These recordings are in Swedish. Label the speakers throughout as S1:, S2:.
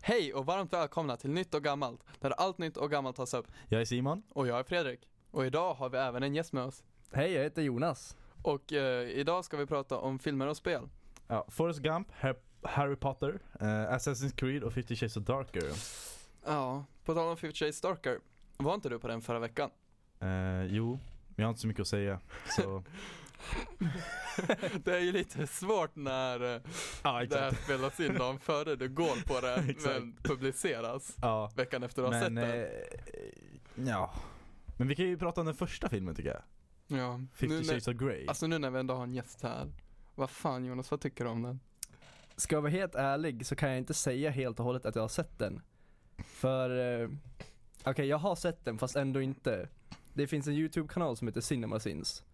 S1: Hej och varmt välkomna till Nytt och Gammalt, där allt nytt och gammalt tas upp.
S2: Jag är Simon.
S1: Och jag är Fredrik. Och idag har vi även en gäst med oss.
S3: Hej, jag heter Jonas.
S1: Och eh, idag ska vi prata om filmer och spel.
S2: Ja, Forrest Gump, Har- Harry Potter, eh, Assassin's Creed och 50 Shades of Darker.
S1: Ja, på tal om 50 Shades Darker, var inte du på den förra veckan?
S2: Eh, jo, men jag har inte så mycket att säga. Så,
S1: Det är ju lite svårt när eh,
S2: ja
S1: det här spelas in dagen före du går på det,
S2: Exakt.
S1: men publiceras
S2: Ja,
S1: veckan efter du har
S2: men,
S1: sett den.
S2: eh, ja. Men vi kan ju prata om den första filmen tycker jag.
S1: Ja,
S2: 50
S1: nu när,
S2: Shades of Grey.
S1: alltså nu när vi ändå har en gäst här. Vad fan Jonas, vad tycker du om den?
S3: Ska jag vara helt ärlig så kan jag inte säga helt och hållet att jag har sett den. För, eh, okej jag har sett den fast ändå inte. Det finns en YouTube-kanal som heter CinemaSins.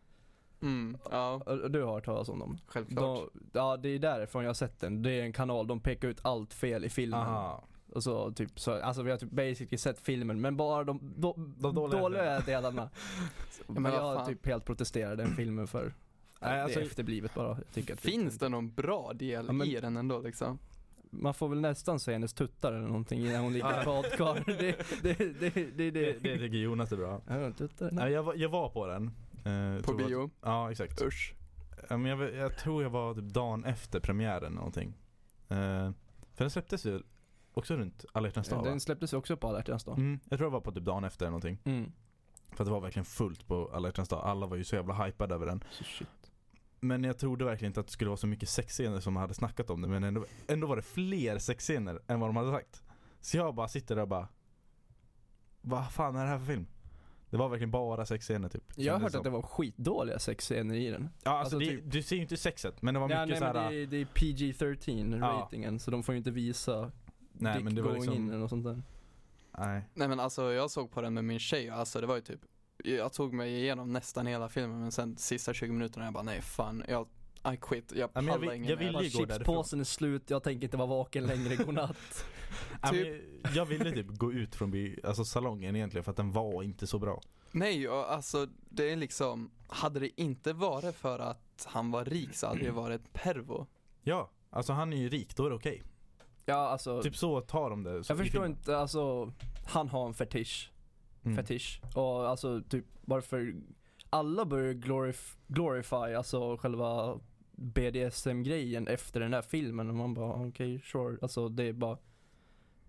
S1: Mm, ja,
S3: Och och du har hört talas om dem?
S1: självklart.
S3: De, ja, det är därifrån jag har sett den. Det är en kanal, de pekar ut allt fel i filmen.
S2: Aha.
S3: Och så typ, så, alltså vi har typ basically sett filmen men bara de, do,
S2: De dåliga
S3: dåliga, delarna.
S1: Ja,
S3: men
S1: vad
S3: jag har
S1: fan.
S3: typ helt protesterat den filmen för.
S2: Nej,
S3: Nej,
S2: alltså-
S3: det är efterblivet bara. Jag tycker
S2: Typ.
S3: att det-
S1: Finns det någon bra del
S3: Ja, men-
S1: i den ändå liksom?
S3: Man får väl nästan se hennes tuttar eller någonting när hon ligger i badkar. Det, det, det, det, det,
S2: Det, det tycker Jonas är bra.
S3: Ja, tuttar.
S2: Nej, jag, var, jag var på den. Eh,
S1: På
S2: tror jag-
S1: bio?
S2: Ja, exakt.
S1: Usch.
S2: Ja, men jag, vet- jag tror jag var typ dagen efter premiären eller någonting. Eh, för den släpptes ju också runt alla hjärtans dag va?
S3: Den släpptes ju också på alla hjärtans dag.
S2: Mm, jag tror det var på typ dagen efter eller någonting.
S3: Mm.
S2: För att det var verkligen fullt på alla hjärtans dag. Alla var ju så jävla hypade över den.
S3: Så shit.
S2: Men jag trodde verkligen inte att det skulle vara så mycket sexscener som man hade snackat om det. Men ändå, ändå var det fler sexscener än vad de hade sagt. Så jag bara sitter där och bara Vad fan är det här för film? Det var verkligen bara sexscener typ.
S3: Jag har
S2: Kändes
S3: hört
S2: som.
S3: att det var skitdåliga sexscener i den.
S2: Ja alltså,
S3: alltså,
S2: det,
S3: typ-
S2: du ser ju inte sexet men det var mycket
S3: nej,
S2: såhär
S3: men det, är, det är PG-13
S2: Ja.
S3: ratingen så de får ju inte visa
S2: Nej
S3: dick
S2: men det var
S3: going in
S2: liksom
S3: eller något sånt där.
S2: Nej.
S1: Nej men alltså jag såg på den med min tjej, alltså det var ju typ Jag tog mig igenom nästan hela filmen men sen sista 20 minuterna jag bara nej fan, jag, I quit, jag
S2: Ja, men
S1: pallar
S2: jag
S1: jag
S2: vill-
S1: ingen
S2: jag
S1: mer.
S2: vill-
S3: Bara,
S2: ju gå därifrån.
S3: Chipspåsen är slut, jag tänker inte vara vaken längre, godnatt.
S2: Ja,
S1: Typ-
S2: men jag- jag ville typ gå ut från bi- alltså, salongen egentligen för att den var inte så bra.
S1: Nej och alltså det är liksom, hade det inte varit för att han var rik så hade det varit ett pervo
S2: Ja, alltså han är ju rik, då är det okej.
S3: ja alltså,
S2: Typ så tar de det. så-
S3: jag
S2: i
S3: förstår
S2: filmen.
S3: inte, typ- alltså han har en fetisch.
S2: Mm.
S3: fetisch. Och alltså typ varför alla börjar glorif- glorify alltså själva BDSM-grejen efter den här filmen och man bara okej sure, alltså det är bara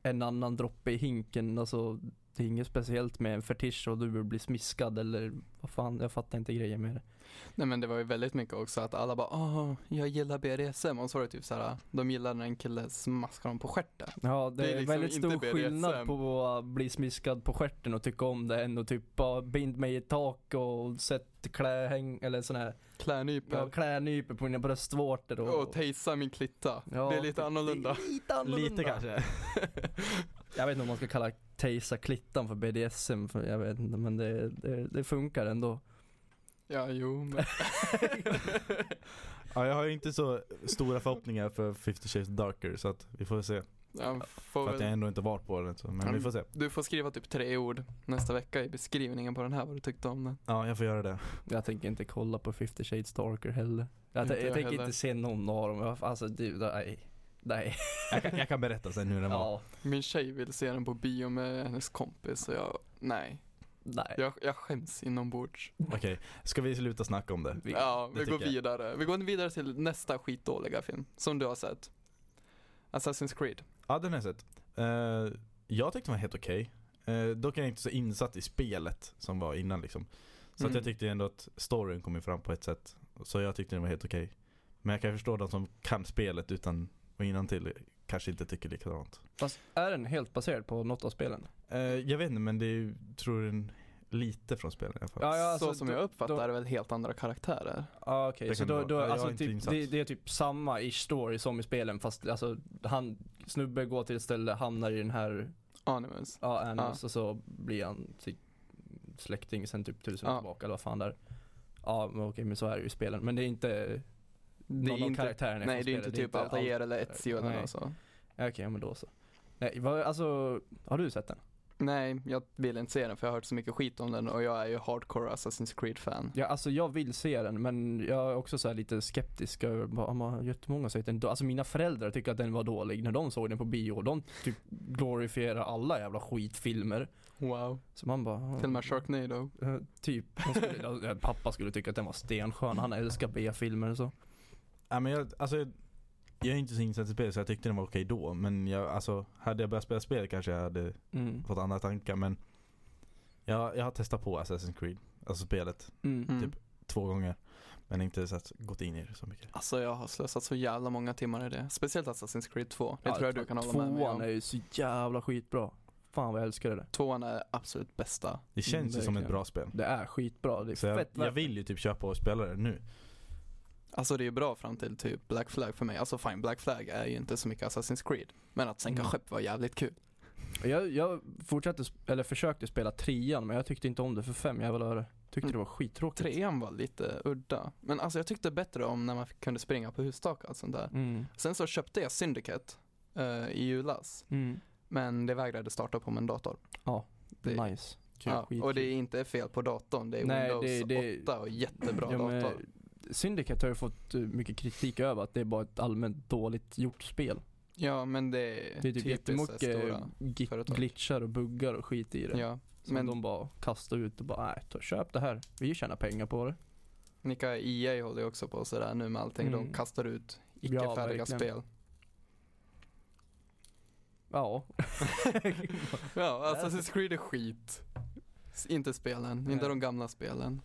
S3: en annan droppe i hinken, alltså det är inget speciellt med en fetisch och du vill bli smiskad eller vad fan, jag fattar inte grejen med det.
S1: Nej men det var ju väldigt mycket också att alla bara åh, jag gillar BDSM och så var det typ såhär, de gillar när en kille smaskar dem på stjärten
S3: Ja, det,
S1: Det är
S3: är,
S1: liksom
S3: väldigt
S1: inte
S3: stor
S1: BDSM.
S3: skillnad på att bli smiskad på stjärten och tycka om det än att typ bara bind mig i ett tak och sätt klähäng eller sån här,
S1: Klärnyper
S3: ja, klädnyper på mina bröstvårtor och,
S1: och tejsa min klitta,
S3: Ja,
S1: det är lite annorlunda
S3: det är Lite annorlunda.
S2: Lite kanske.
S3: Jag vet inte om man ska kalla tejsa klittan för BDSM, för jag vet inte, men det, det, det funkar ändå.
S1: Ja jo men
S2: Ja, jag har ju inte så stora förhoppningar för 50 shades darker så att vi får se.
S1: ja, får
S2: För att
S1: väl...
S2: jag ändå inte varit på den så, men vi får se.
S1: Du får skriva typ tre ord nästa vecka i beskrivningen på den här vad du tyckte om den.
S2: Ja, jag får göra det.
S3: Jag tänker inte kolla på 50 Shades Darker heller. Jag,
S1: Inte
S3: jag,
S1: jag
S3: tänker
S1: heller.
S3: inte se någon av dem, Jag- alltså du, nej. Nej.
S2: Jag kan, jag kan berätta sen hur den var.
S3: Ja,
S1: Min tjej vill se den på bio med hennes kompis och jag, nej.
S3: nej.
S1: Jag, jag skäms inombords.
S2: Okej, ska vi sluta snacka om det?
S3: Vi-
S1: ja,
S2: det
S1: vi går
S2: tycker jag.
S1: vidare. Vi går vidare till nästa skitdåliga film som du har sett. Assassin's Creed.
S2: Ja, den har jag sett. Eh, jag tyckte den var helt okej. Eh, dock är jag inte så insatt i spelet som var innan liksom. Så att
S1: Mm.
S2: jag tyckte ändå att storyn kom ju fram på ett sätt. Så jag tyckte den var helt okej. Men jag kan förstå de som kan spelet utan och innan till kanske inte tycker likadant.
S3: Fast är den helt baserad på något av spelen?
S2: Uh, jag vet inte men det är ju, tror en lite från spelet i alla fall.
S3: Ja, ja,
S1: så
S3: alltså,
S1: som
S3: då-
S1: jag uppfattar
S3: då-
S1: är det väl helt andra karaktärer.
S3: Ja okej,
S2: Det
S3: så
S2: kan
S3: då,
S2: vara.
S3: då
S2: Ja, jag är
S3: alltså
S2: inte
S3: typ,
S2: insatt.
S3: det, det är typ samma ish story som i spelen fast alltså han, snubbe går till ett ställe, hamnar i den här
S1: Animus.
S3: Ja, Animus och så blir han sitt släkting sen typ tusen år
S1: Ja.
S3: tillbaka eller vad fan där. Ja men okej men så är det ju i spelen. Men det är inte
S1: Det är
S3: någon av
S1: inte,
S3: karaktärerna
S1: nej det är inte typ Altair eller Ezio eller
S3: Nej.
S1: något så.
S3: Ja, Okej men då så. Nej, vad, alltså, har du sett den?
S1: Nej, jag vill inte se den för jag har hört så mycket skit om den och jag är ju hardcore Assassin's Creed-fan.
S3: Ja, alltså jag vill se den men jag är också så här lite skeptisk över bara, man, jättemånga säger att den är då- Alltså mina föräldrar tycker att den var dålig när de såg den på bio. De typ glorifierar alla jävla skitfilmer.
S1: Wow.
S3: Så man bara... ja,
S1: Till och med Sharknado.
S3: eh, Typ. De Skulle, ja, pappa skulle tycka att den var stenskön. Han älskar B-filmer och så.
S2: Ja, men jag, alltså, jag, jag är inte så insatt i spel så jag tyckte den var okej då. Men jag, alltså, hade jag börjat spela spel kanske jag hade
S3: Mm.
S2: fått andra tankar. Men jag, jag har testat på Assassin's Creed. Alltså spelet
S3: Mm.
S1: Mm.
S2: Typ. två gånger. Men inte så att, gått in i det så mycket.
S1: Alltså jag har slösat så jävla många timmar i det. Speciellt Assassin's Creed 2. Det
S3: Ja,
S1: tror jag du kan hålla med mig
S3: Tvåan är
S1: om.
S3: ju så jävla skitbra. Fan vad jag älskar det.
S1: Tvåan är absolut bästa.
S2: Det känns ju som ett
S3: verkligen.
S2: bra spel.
S3: Det är skitbra. Det är
S2: Så jag,
S3: fett
S2: jag
S3: värt det.
S2: vill ju typ köpa och spela det nu.
S1: Alltså det är ju bra fram till typ Black Flag för mig. Alltså fine, Black Flag är ju inte så mycket Assassin's Creed. Men att sänka
S3: Mm.
S1: skepp var jävligt kul.
S3: Jag, jag fortsatte, sp- eller försökte spela trean men jag tyckte inte om det för fem jävla öre. Tyckte
S1: Mm.
S3: det var skittråkigt.
S1: Trean var lite udda. Men alltså jag tyckte bättre om när man fick- kunde springa på hustak och allt sånt där.
S3: Mm.
S1: Sen så köpte jag Syndicate eh, i julas.
S3: Mm.
S1: Men det vägrade starta på min dator.
S3: Ja,
S1: det,
S3: Nice.
S1: ja,
S3: Skitkul.
S1: Och det är inte fel på datorn. Det är
S3: Typ Nej,
S1: Windows
S3: det- det-
S1: 8 och jättebra
S3: Ja, men
S1: dator.
S3: Syndicate har ju fått eh, mycket kritik över att det är bara ett allmänt dåligt gjort spel.
S1: Ja men det är
S3: Det är typ
S1: typiskt eh,
S3: jättemycket
S1: stora.
S3: gi-
S1: företag.
S3: glitchar och buggar och skit i det.
S1: Ja,
S3: Som
S1: men-
S3: de bara kastar ut och bara nej, ta- köp det här. Vi tjänar pengar på det.
S1: Nika EA håller ju också på sådär nu med allting. De
S3: Mm.
S1: kastar ut icke
S3: Ja,
S1: färdiga
S3: verkligen.
S1: spel.
S3: Ja.
S1: Ja, alltså, Assassin's Creed är skit. S- Inte spelen, inte
S3: Nej.
S1: de gamla spelen.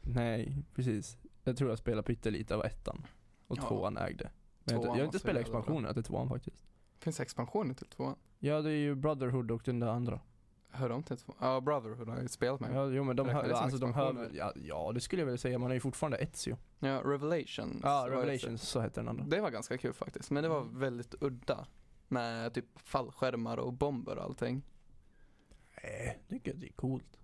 S3: nej, precis. Jag tror jag spelar pyttelite av ettan. Och
S1: Ja.
S3: tvåan ägde. Men jag, har
S1: Tvåan
S3: inte- jag har
S1: var
S3: inte
S1: så
S3: spelat
S1: jävla bra.
S3: expansionen till tvåan faktiskt.
S1: Finns expansioner till tvåan?
S3: Ja, det är ju Brotherhood och den där andra.
S1: Hör de till tvåan? Ja, Brotherhood har jag ju spelat med. Ja,
S3: Ja, jo men de
S1: Räknar
S3: hör,
S1: det som
S3: alltså de hör
S1: expansioner?
S3: väl, ja, ja det skulle jag vilja säga, man är ju fortfarande Ezio.
S1: Revelations.
S3: Ja,
S1: var ju-
S3: Revelations Mm. så heter den andra.
S1: Det var ganska kul faktiskt, men det var väldigt udda. Med typ fallskärmar och bomber och allting.
S3: Nej, jag Eh, tycker det är coolt.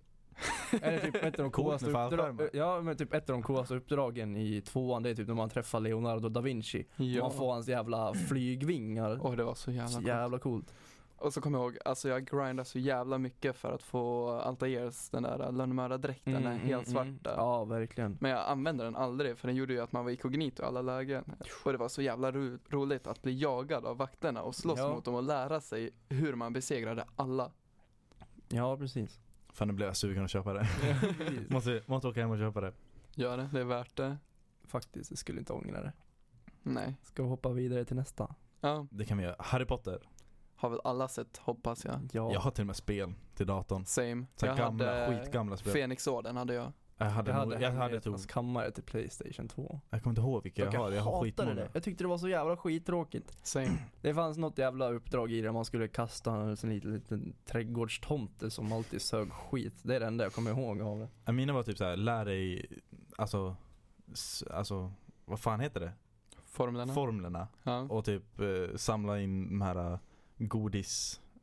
S3: är det typ ett av de
S2: Coolt
S3: coolaste
S2: med fallskärmar.
S3: uppdragen? Ja men typ ett av de coolaste uppdragen i tvåan det är typ när man träffar Leonardo da Vinci. Man får hans jävla flygvingar.
S1: Och det var så jävla
S3: så
S1: coolt.
S3: jävla coolt.
S1: Och så kommer jag ihåg, alltså jag grindade så jävla mycket för att få Altairs, den där äh, lönnmördardräkten, den
S3: Mm,
S1: här helt
S3: mm,
S1: svarta.
S3: mm. Ja verkligen.
S1: Men jag använde den aldrig för den gjorde ju att man var ikognito i alla lägen. Och det var så jävla ro- roligt att bli jagad av vakterna och slåss
S3: Ja.
S1: mot dem och lära sig hur man besegrade alla.
S3: Ja precis.
S2: Fan nu blev jag sugen att köpa det. måste, måste åka hem och köpa det.
S1: Gör det, det är värt det.
S3: Faktiskt, jag skulle inte ångra det.
S1: Nej.
S3: Ska vi hoppa vidare till nästa?
S1: Ja,
S2: Det kan vi göra. Harry Potter.
S1: har väl alla sett hoppas jag.
S3: Ja.
S2: Jag har till och med spel till datorn.
S1: Same.
S2: Så
S1: jag
S2: gamla,
S1: hade
S2: skitgamla spel.
S1: Fenixorden hade jag.
S2: Jag hade,
S3: Jag hade,
S2: nog, jag hade ett
S3: Hemligheternas kammare till Playstation 2.
S2: Jag kommer inte ihåg vilka jag, har, jag har skitmånga.
S3: det. Jag tyckte det var så jävla skittråkigt.
S1: Same.
S3: Det fanns något jävla uppdrag i det man skulle kasta en sån liten, liten trädgårdstomte som alltid sög skit. Det är det enda jag kommer ihåg av det.
S2: Ja, Mina var typ såhär, lär dig, alltså, s- alltså vad fan heter det?
S1: Formlerna.
S2: Formlerna.
S3: Mm.
S1: ja.
S2: Och typ eh, samla in de här eh,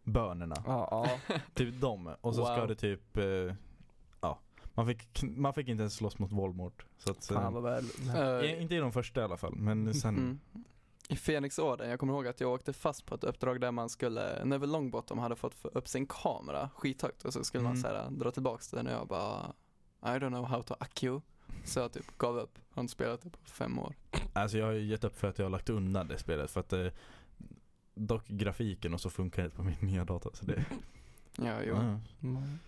S2: godisbönorna.
S3: Ja, ja.
S2: Typ dem. Och så ska
S1: Wow.
S2: du typ, eh, ja. Man fick, kn- man fick inte ens slåss mot Voldemort. Så att, eh,
S3: Fan vad väl.
S2: i-
S1: Eh,
S2: inte i de första i alla fall, men sen.
S1: Mm. I Fenixorden, jag kommer ihåg att jag åkte fast på ett uppdrag där man skulle, när väl Longbottom hade fått få upp sin kamera skithögt och så skulle man
S2: Mm.
S1: så här, äh, dra tillbaks den och jag bara I don't know how to accu. Så jag typ gav upp. Har inte spelat det på fem år.
S2: Alltså jag har ju gett upp för att jag har lagt undan det spelet. För att eh, dock grafiken och så funkar det inte på min nya dator. Så det,
S1: Ja, jo.
S2: Ja.
S3: Mm.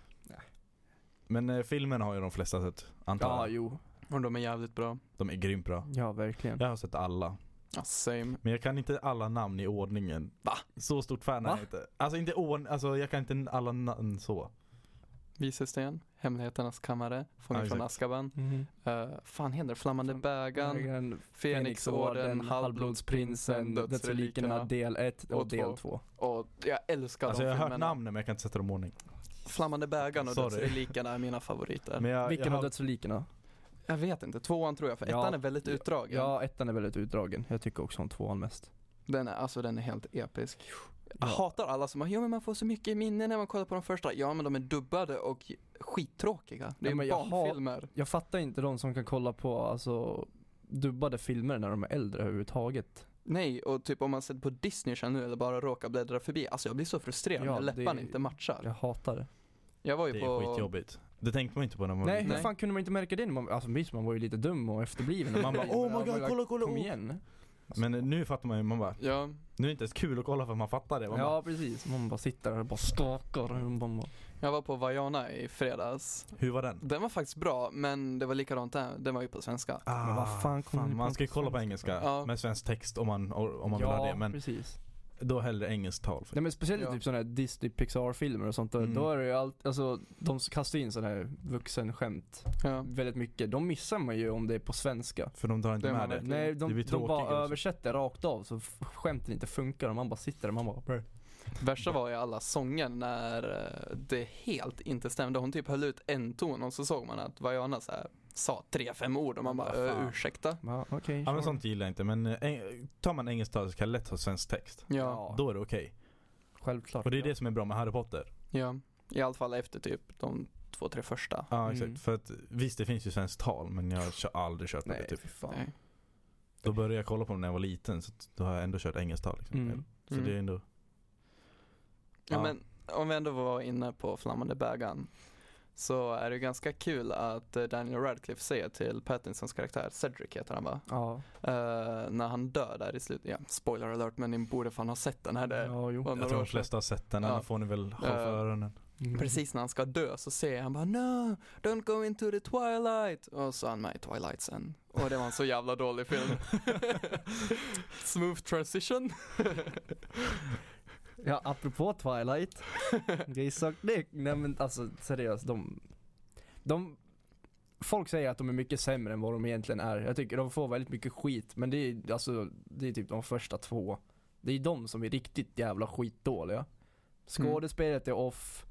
S2: Men eh, filmen har ju de flesta sett, antar
S3: Ja,
S2: jag.
S3: jo.
S1: Och de är jävligt bra.
S2: De är grymt bra.
S3: Ja, verkligen.
S2: Jag har sett alla.
S1: Ja, same.
S2: Men jag kan inte alla namn i ordningen.
S1: Va?
S2: Så stort fan är
S3: Va?
S2: jag inte. Alltså inte ordning, alltså jag kan inte alla namn så.
S1: Visesten, Hemligheternas kammare, Fången
S2: Ja,
S1: från
S2: exakt.
S1: Azkaban.
S3: Mhm.
S1: Uh, fan heter det? Flammande
S3: Flam-
S1: bägaren,
S3: Ägaren,
S1: Fenixorden, Halvblodsprinsen,
S3: Dödsrelikerna
S1: Dödsrelikerna.
S3: del 1 och,
S1: och
S3: del
S1: två.
S3: 2.
S1: Och jag älskar
S2: Alltså
S1: de
S2: jag har hört
S1: filmerna.
S2: namnen men jag kan inte sätta dem i ordning.
S1: Flammande bägaren och
S2: Sorry.
S1: Dödsrelikerna är mina favoriter.
S2: Men jag,
S3: Vilken
S2: jag
S3: av
S2: har,
S3: dödsrelikerna?
S1: Jag vet inte, tvåan tror jag för
S3: Ja.
S1: ettan är väldigt utdragen.
S3: Ja, ettan är väldigt utdragen. Jag tycker också om tvåan mest.
S1: Den är, alltså den är helt episk. Jag
S3: Ja.
S1: hatar alla som bara, ja men man får så mycket minne när man kollar på de första. Ja men de är dubbade och skittråkiga. Det
S3: Ja,
S1: är
S3: men jag har-
S1: barnfilmer.
S3: Jag fattar inte de som kan kolla på alltså dubbade filmer när de är äldre överhuvudtaget.
S1: Nej, och typ om man sätter på Disney Channel nu eller bara råkar bläddra förbi. Alltså jag blir så frustrerad när
S3: Ja, det-
S1: läpparna inte matchar.
S3: Jag hatar det.
S1: Jag var ju
S2: Det är
S1: på...
S2: skitjobbigt. Det tänkte man inte på när man var
S3: Nej, hur
S1: Nej.
S3: fan kunde man inte märka det? när Man, alltså visst, man var ju lite dum och efterbliven. och
S2: Man bara
S3: grejer, men
S2: oh my
S3: jag
S2: god,
S3: bara,
S2: kolla kolla!
S3: Kom
S2: oh."
S3: igen.
S2: Men nu fattar man ju, man bara,
S1: Ja,
S2: nu är det inte ens kul att kolla för man fattar det. Man bara,
S3: Ja precis, man bara sitter där och bara skakar. och man bara-
S1: jag var på Vajana i fredags.
S2: hur var den?
S1: Den var faktiskt bra, men det var likadant där. Den var ju på svenska.
S2: Ah,
S3: Men vad fan kommer ni på
S2: man ska ju kolla på
S3: svenska?
S2: engelska
S1: Ja.
S2: med svensk text om man, om man vill ha
S3: ja,
S2: det. Men
S3: precis.
S2: då hellre engelskt tal.
S3: Nej men speciellt
S1: Ja.
S3: typ sådana här Disney Pixar-filmer och sånt där,
S2: Mm.
S3: då är det ju allt, alltså de kastar in sådana här vuxenskämt
S1: Ja.
S3: väldigt mycket. De missar man ju om det är på svenska.
S2: För de drar inte
S1: Det är
S2: med
S1: man
S2: det.
S1: verkligen.
S3: Nej,
S2: Det liksom.
S3: de,
S2: blir
S3: de bara
S2: tråkigare också.
S3: översätter rakt av så f- skämten inte funkar och man bara sitter där och man bara "Brr."
S1: Värsta var ju alla sånger när eh, det helt inte stämde. Hon typ höll ut en ton och så såg man att Vajana så här, sa tre, fem ord och man bara
S3: Vad fan.
S1: "Eh, ursäkta.
S3: Ja, okej.
S2: Ja men
S3: sure.
S2: sånt gillar jag inte. Men eh, eng- tar man engelskt tal så kan jag lätt ha svensk text.
S1: Ja,
S2: Då är det okej.
S3: Självklart.
S2: Och det är det som är bra med Harry Potter.
S1: ja. I alla fall efter typ de två, tre första.
S2: Ja
S3: Mm.
S2: exakt. För att visst det finns ju svenskt tal men jag har aldrig kört på
S3: Nej,
S2: det typ.
S3: fy fan.
S1: Nej.
S2: Då började jag kolla på dem när jag var liten så att då har jag ändå kört engelskt tal. Liksom.
S3: Mm.
S2: Så
S1: Mm.
S2: det är ändå,
S1: Ja,
S2: Ja.
S1: men om vi ändå var inne på flammande bägaren så är det ganska kul att eh, Daniel Radcliffe säger till Pattinsons karaktär, Cedric heter han va?
S3: Ja.
S1: Eh, när han dör där i slutet, ja spoiler alert men ni borde fan ha sett den här. Det
S3: Ja, jo.
S1: var några
S2: jag tror
S1: år sedan.
S2: de flesta har sett den, annars
S1: Ja.
S2: får ni väl ha för
S1: Eh,
S2: öronen.
S3: Mm.
S1: Precis när han ska dö så säger han bara no, don't go into the twilight. Och så är han med i Twilight sen. Och det var en så jävla dålig film. Smooth transition.
S3: Ja, apropå Twilight. Gaysock Dick. Nej men alltså seriöst, de, de... Folk säger att de är mycket sämre än vad de egentligen är. Jag tycker de får väldigt mycket skit, men det är, alltså, det är typ de första två. Det är de som är riktigt jävla skitdåliga. Skådespelet är off.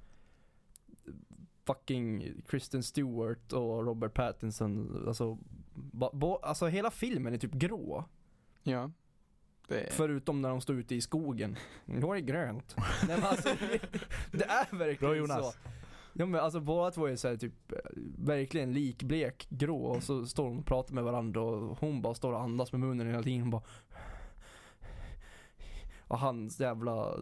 S3: Fucking Kristen Stewart och Robert Pattinson. Alltså, ba, bo, alltså hela filmen är typ grå.
S1: Ja. Det är...
S3: Förutom när de står ute i skogen. Mm, Då är det grönt. Nej, men alltså, det är verkligen
S2: Bra Jonas.
S3: så. Ja, men alltså, båda två är så här, typ eh, verkligen likblek grå och så står de och pratar med varandra och hon bara står och andas med munnen hela tiden och bara och hans jävla eh,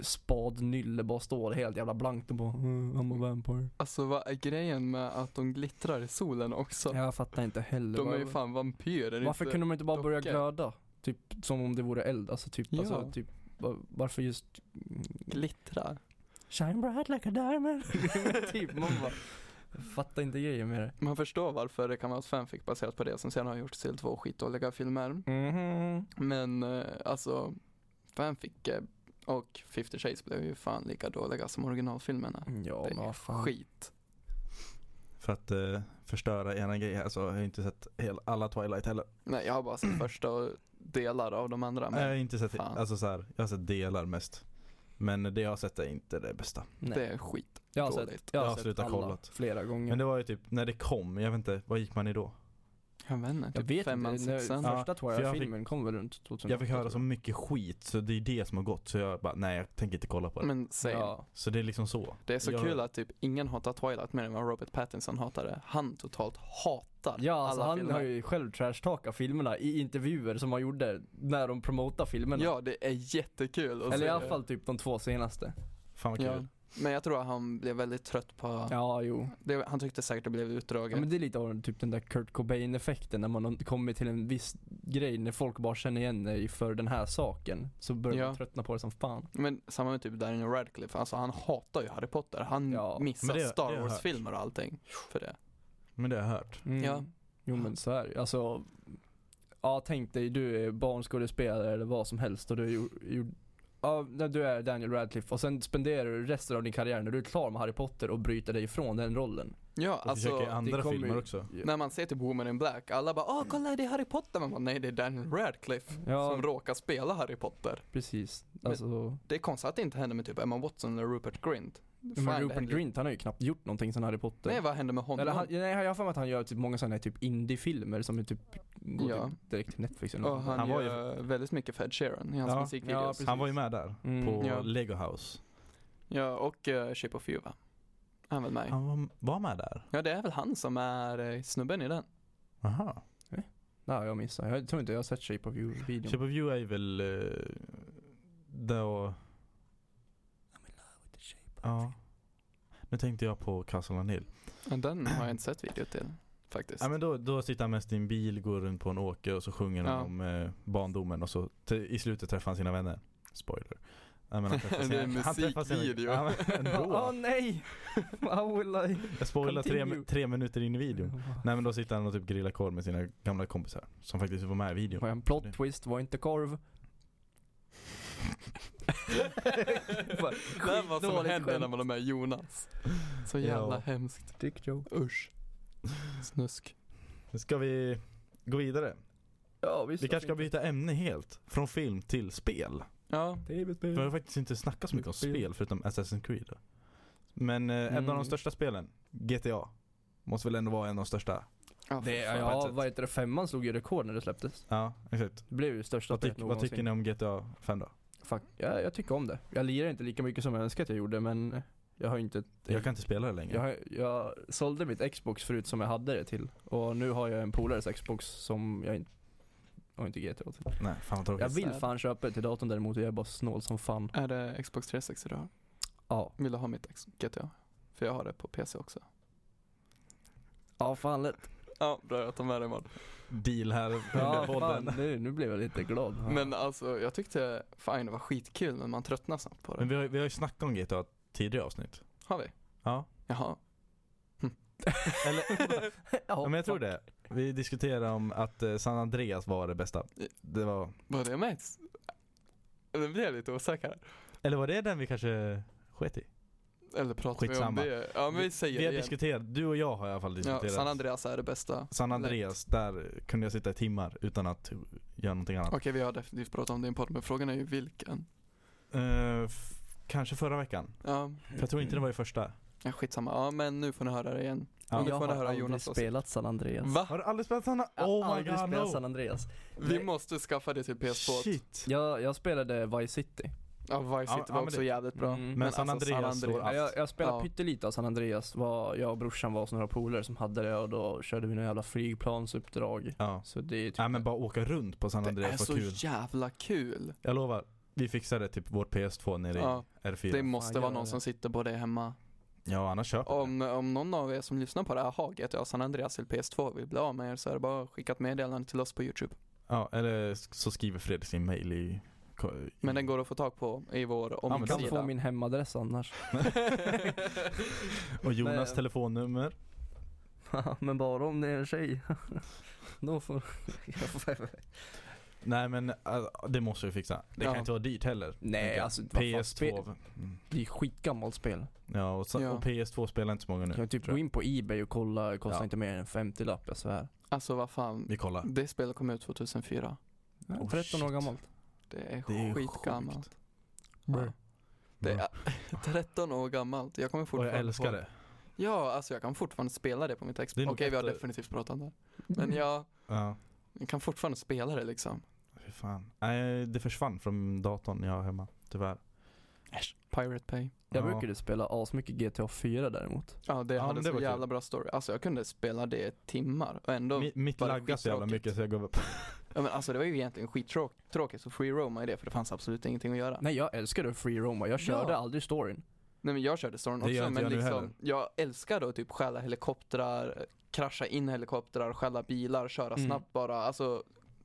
S3: spadnylle bara står helt jävla blankt och bara "Mm, I'm a vampire.
S1: Alltså vad är grejen med att de glittrar i solen också?
S3: Jag fattar inte heller.
S1: De är ju
S3: vad-
S1: fan vampyrer.
S3: Varför kunde de inte bara börja
S1: dockor?
S3: glöda? Typ som om det vore eld, alltså typ,
S1: Ja.
S3: alltså, typ va- varför just mm,
S1: glittra?
S3: Shine bright like a diamond Typ, man bara jag Fattar inte grejen med det
S1: Man förstår varför det kan vara ett fanfic baserat på det som sen har gjorts till två skitdåliga filmer.
S2: Mm-hmm.
S3: Mhm.
S1: Men eh, alltså, fanfic eh, och 50 Shades blev ju fan lika dåliga som originalfilmerna.
S3: Ja
S1: Det är
S3: men vad fan
S1: Skit.
S2: För att eh, förstöra ena grej här så har jag inte sett hel, alla Twilight heller.
S1: Nej, jag har bara sett första och delar av de andra. Men
S3: Eh,
S2: jag har inte sett,
S1: fan.
S2: alltså så här, jag har sett delar mest. Men det jag har sett är inte det bästa.
S1: det
S3: Nej.
S1: är skit.
S3: Jag har
S1: dåligt.
S3: sett, jag har
S2: Jag har
S3: sett
S2: slutat
S3: alla
S2: kollat.
S3: flera gånger
S2: Men det var ju typ när det kom, jag vet inte, vad gick man i då?
S1: Jag vet inte,
S3: Jag
S1: typ
S3: vet
S1: femman,
S3: inte, när
S1: sexan.
S2: Ja,
S3: första
S2: för jag
S3: Twilight-filmen kom väl runt 2000
S2: Jag fick höra så mycket skit så det är det som har gått så jag bara nej jag tänker inte kolla på det.
S1: Men same.
S3: Ja,
S2: Så det är liksom så.
S1: Det är så
S2: jag,
S1: kul att typ ingen hatar Twilight mer än vad Robert Pattinson hatade. Han totalt hatar
S3: ja alltså
S1: alla
S3: han
S1: filmer.
S3: har ju själv trashtalkat filmerna i intervjuer som han gjorde när de promotar filmerna
S1: Ja, det är jättekul. att
S3: Eller
S1: se.
S3: i alla fall typ de två senaste
S2: Fan vad
S1: Ja.
S2: kul.
S1: Men jag tror att han blev väldigt trött på,
S3: Ja jo
S1: det, han tyckte säkert det blev utdraget.
S3: Ja, men det är lite av typ den där Kurt Cobain effekten när man har kommit till en viss grej när folk bara känner igen dig för den här saken. Så börjar
S1: Ja.
S3: man tröttna på det som fan.
S1: Men samma med typ Daniel Radcliffe, alltså han hatar ju Harry Potter. Han
S3: Ja,
S1: missar
S2: men det- det har
S1: Star
S2: jag
S1: Wars-filmer och allting för det.
S2: Men det har jag hört.
S1: Ja.
S3: Jo men så är det ju. Alltså, ja tänk dig du är barnskådespelare eller vad som helst och du är ju, ju, ja, när du är Daniel Radcliffe och sen spenderar du resten av din karriär när du är klar med Harry Potter och bryter dig ifrån den rollen.
S1: Ja,
S2: Och försöker i
S1: alltså
S2: andra
S3: kommer
S2: filmer
S3: ju-
S2: också.
S1: när man ser typ Woman in Black, alla bara åh kolla det är Harry Potter, man bara nej det är Daniel Radcliffe
S3: Ja.
S1: som råkar spela Harry Potter.
S3: Precis.
S1: Men-
S3: Alltså,
S1: Det är konstigt att det inte händer med typ Emma Watson eller Rupert Grint. Fan, det
S3: men Rupert
S1: händer-
S3: Grint han har ju knappt gjort någonting sen Harry Potter.
S1: Nej vad händer med honom?
S3: Eller han, nej, jag har för mig att han gör typ många sådana här typ indiefilmer som är typ, går
S1: Ja.
S3: typ direkt till Netflix eller
S1: och
S3: något.
S1: han,
S2: Han var ju-
S1: gör väldigt mycket för Ed Sheeran i hans
S2: Ja,
S3: ja,
S1: musikvideos.
S3: precis.
S1: Ja,
S2: Han var ju med där
S3: Mm.
S2: på
S1: Ja.
S2: Lego House.
S1: och uh, Shape of You va? Han väl med i?
S2: Han var, var med där?
S1: Ja det är väl han som är eh, snubben i den.
S2: Aha.
S3: Nej, jag missade. Jag tror inte jag har sett Shape of You-videon.
S2: Shape of You är väl... eh, Då... Ja. Nu tänkte jag på Castle on Hill.
S1: Ja, Den har jag inte sett video till faktiskt.
S2: Ja, men då, då sitter han mest i en bil, går runt på en åker och så sjunger han
S1: Ja.
S2: om eh, barndomen och så t- i slutet träffar han sina vänner. Spoiler. Ja, men han träffar
S1: Det är
S2: sina-
S1: en
S2: han träffar sina-
S1: musikvideo.
S2: Ja, men
S3: Åh
S2: ändå.
S3: nej! How will I?
S2: Jag spoilar tre,
S3: Continue.
S2: tre minuter in i videon. Nej men då sitter han och typ grillar korv med sina gamla kompisar. Som faktiskt var med i videon.
S3: Var en plot twist, var inte korv. Bara
S1: det är vad som
S3: skitdåligt
S1: händer
S3: skämt.
S1: när man är med Jonas. Så jävla
S2: Ja.
S1: hemskt.
S3: Dick joke.
S1: Usch. Snusk.
S2: Nu ska vi gå vidare.
S3: Ja visst.
S2: Vi kanske ska byta ämne helt. Från film till spel.
S1: Ja,
S2: Vi
S3: TV-spel.
S2: har faktiskt inte snackat så mycket om
S3: Spel.
S2: spel förutom Assassin's Creed. då. Men eh, en av de
S3: Mm.
S2: största spelen, GTA. Måste väl ändå vara en av de största?
S1: ja,
S3: Det,
S1: för fan.
S2: på ett
S3: ja,
S2: sätt.
S3: vad heter det? Femman slog ju rekord när det släpptes.
S2: Ja, exakt.
S3: Det blev ju största
S2: Vad,
S3: spelet
S2: tyck, vad tycker ni om GTA 5 då?
S3: Fuck, ja, jag tycker om det. Jag lirar inte lika mycket som jag önskar att jag gjorde men jag har ju inte
S2: Jag kan inte spela det längre.
S3: jag, har- jag sålde mitt Xbox förut som jag hade det till och nu har jag en polares Xbox som jag inte har inte GTA till.
S2: Nej, fan vad tråkigt.
S3: Jag vill
S1: sad.
S3: fan köpa det till datorn däremot och jag är bara snål som fan.
S1: Är det Xbox 360 du har?
S3: Ja.
S1: Vill du ha mitt X- GTA? För jag har det på PC också.
S3: Ja fan lätt.
S1: Ja, bra jag tar med det imorgon.
S2: Deal här
S3: Ja
S2: under podden.
S3: fan nu, nu blev jag lite glad.
S1: Men alltså jag tyckte fine det var skitkul men man tröttnar snabbt på det.
S2: Men vi har, vi har ju snackat om GTA tidigare avsnitt.
S1: Har vi?
S2: Ja.
S1: Jaha.
S2: Eller,
S3: ja,
S2: ja, men jag tror det. Vi diskuterade om att eh, San Andreas var det bästa. Det var,
S1: Var det med? ett- Nu blir jag lite osäker. här.
S2: eller var det den vi kanske sket i?
S1: Eller pratar
S2: Skitsamma.
S1: vi om det? Ja men vi säger
S2: Vi
S1: det
S2: har
S1: igen.
S2: diskuterat, du och jag har i alla fall
S1: Ja,
S2: diskuterat.
S1: San Andreas är det bästa.
S2: San Andreas, där kunde jag sitta i timmar utan att göra någonting annat.
S1: Okej vi har definitivt pratat om det i en podd men frågan är ju vilken.
S2: Eh, f- kanske förra veckan.
S1: Ja,
S2: För jag tror
S3: Mm.
S2: inte det var i första.
S1: ja skitsamma. Ja men nu får ni höra det igen.
S2: Ja.
S1: Och nu
S3: Jag
S1: får ni
S3: har
S1: höra
S3: aldrig
S1: Jonas också.
S3: spelat San Andreas.
S1: Va?
S2: Har du aldrig spelat San
S3: Ah. Jag
S2: Andreas?
S3: har
S2: alltså. Oh my
S3: aldrig
S2: god
S3: spelat
S2: no!
S3: San Andreas.
S1: Vi
S3: Nej.
S1: måste skaffa det till PS2.
S2: Shit!
S3: Jag, jag spelade Vice City.
S1: Ja Vice
S2: Ja,
S1: City
S2: ja,
S1: var
S2: men
S1: också
S2: det-
S1: jävligt bra.
S3: Mm.
S2: Men San
S1: alltså,
S2: Andreas slår
S3: Ja,
S2: allt.
S3: jag, jag spelade
S1: Ja.
S3: pyttelite av San Andreas. Var, jag och brorsan var hos några polare som hade det och då körde vi några jävla flygplansuppdrag.
S2: Ja.
S3: Så det är typ...
S2: Nej men bara åka runt på San
S1: Det är
S2: Andreas
S1: så
S2: var kul.
S1: jävla kul.
S2: Jag lovar, vi fixade typ vårt PS2 nere i
S1: Ja,
S2: R4.
S1: det måste
S3: Fan,
S1: vara
S3: gör
S1: någon
S3: det.
S1: som sitter på det hemma.
S2: Ja annars köper jag det.
S1: Om, om någon av er som lyssnar på det här har GTA San Andreas eller PS2 vill bli av med er så är det bara att skicka ett meddelande till oss på YouTube.
S2: Ja eller så skriver Fredrik sin mail i... ko- i-
S1: Men den går att få tag på i vår
S2: Mm. men
S3: du
S1: omsida.
S3: kan få min hemadress annars.
S2: Och Jonas
S3: Men-
S2: telefonnummer.
S3: men bara om det är en tjej. då får...
S2: Nej men alltså, det måste vi fixa. Det kan
S1: Ja.
S2: inte vara dyrt heller.
S3: Nej,
S2: tänker jag.
S3: alltså, vad fan,
S2: PS2.
S3: spel-
S2: Mm.
S3: det är skitgammalt spel.
S2: Ja och, så,
S1: Ja.
S2: och PS2 spelar inte så många nu.
S3: Jag kan typ
S2: tror
S3: gå
S2: jag.
S3: in på Ebay och kolla, det kostar
S2: Ja.
S3: inte mer än en 50-lapp, jag svär.
S1: Alltså vad fan.
S2: Vi kollar.
S1: Det spelet kom ut 2004.
S2: Oh,
S3: 13 år
S2: shit.
S3: gammalt.
S1: Det är,
S2: Det är ju
S1: skitgammalt.
S2: sjukt.
S1: Ja. Det är 13 år gammalt. Jag kommer
S2: Och
S1: fortfarande
S2: jag älskar
S1: på-
S2: det.
S1: Ja, alltså jag kan fortfarande spela det på mitt Xbox.
S2: Det är
S1: Okej,
S2: nog
S1: vi har
S2: efter-
S1: definitivt pratat om det. Men jag,
S2: Ja.
S1: jag kan fortfarande spela det liksom.
S2: Fy fan. Nej det försvann från datorn jag har hemma. Tyvärr.
S1: Äsch, Pirate Bay.
S3: Jag
S2: Ja.
S3: brukade spela asmycket GTA 4 däremot.
S1: Ja, det
S2: Ja,
S1: hade
S2: men det
S1: så
S2: var kul.
S1: jävla bra story. Alltså jag kunde spela det i timmar och ändå
S2: Mi- Mitt
S1: var det
S2: laggar så jävla
S1: skittråkigt.
S2: mycket så jag gav upp.
S1: Ja men alltså det var ju egentligen skittråkigt att free roama i det för det fanns absolut ingenting att göra. Nej,
S3: Nej jag älskade free roma, jag körde
S1: Ja.
S3: aldrig storyn.
S1: men jag körde storyn
S2: Det gör
S1: också
S2: inte
S1: men
S2: jag nu heller.
S1: liksom, jag älskade att typ stjäla helikoptrar, krascha in helikoptrar, stjäla bilar, köra
S3: Mm.
S1: snabbt bara. Alltså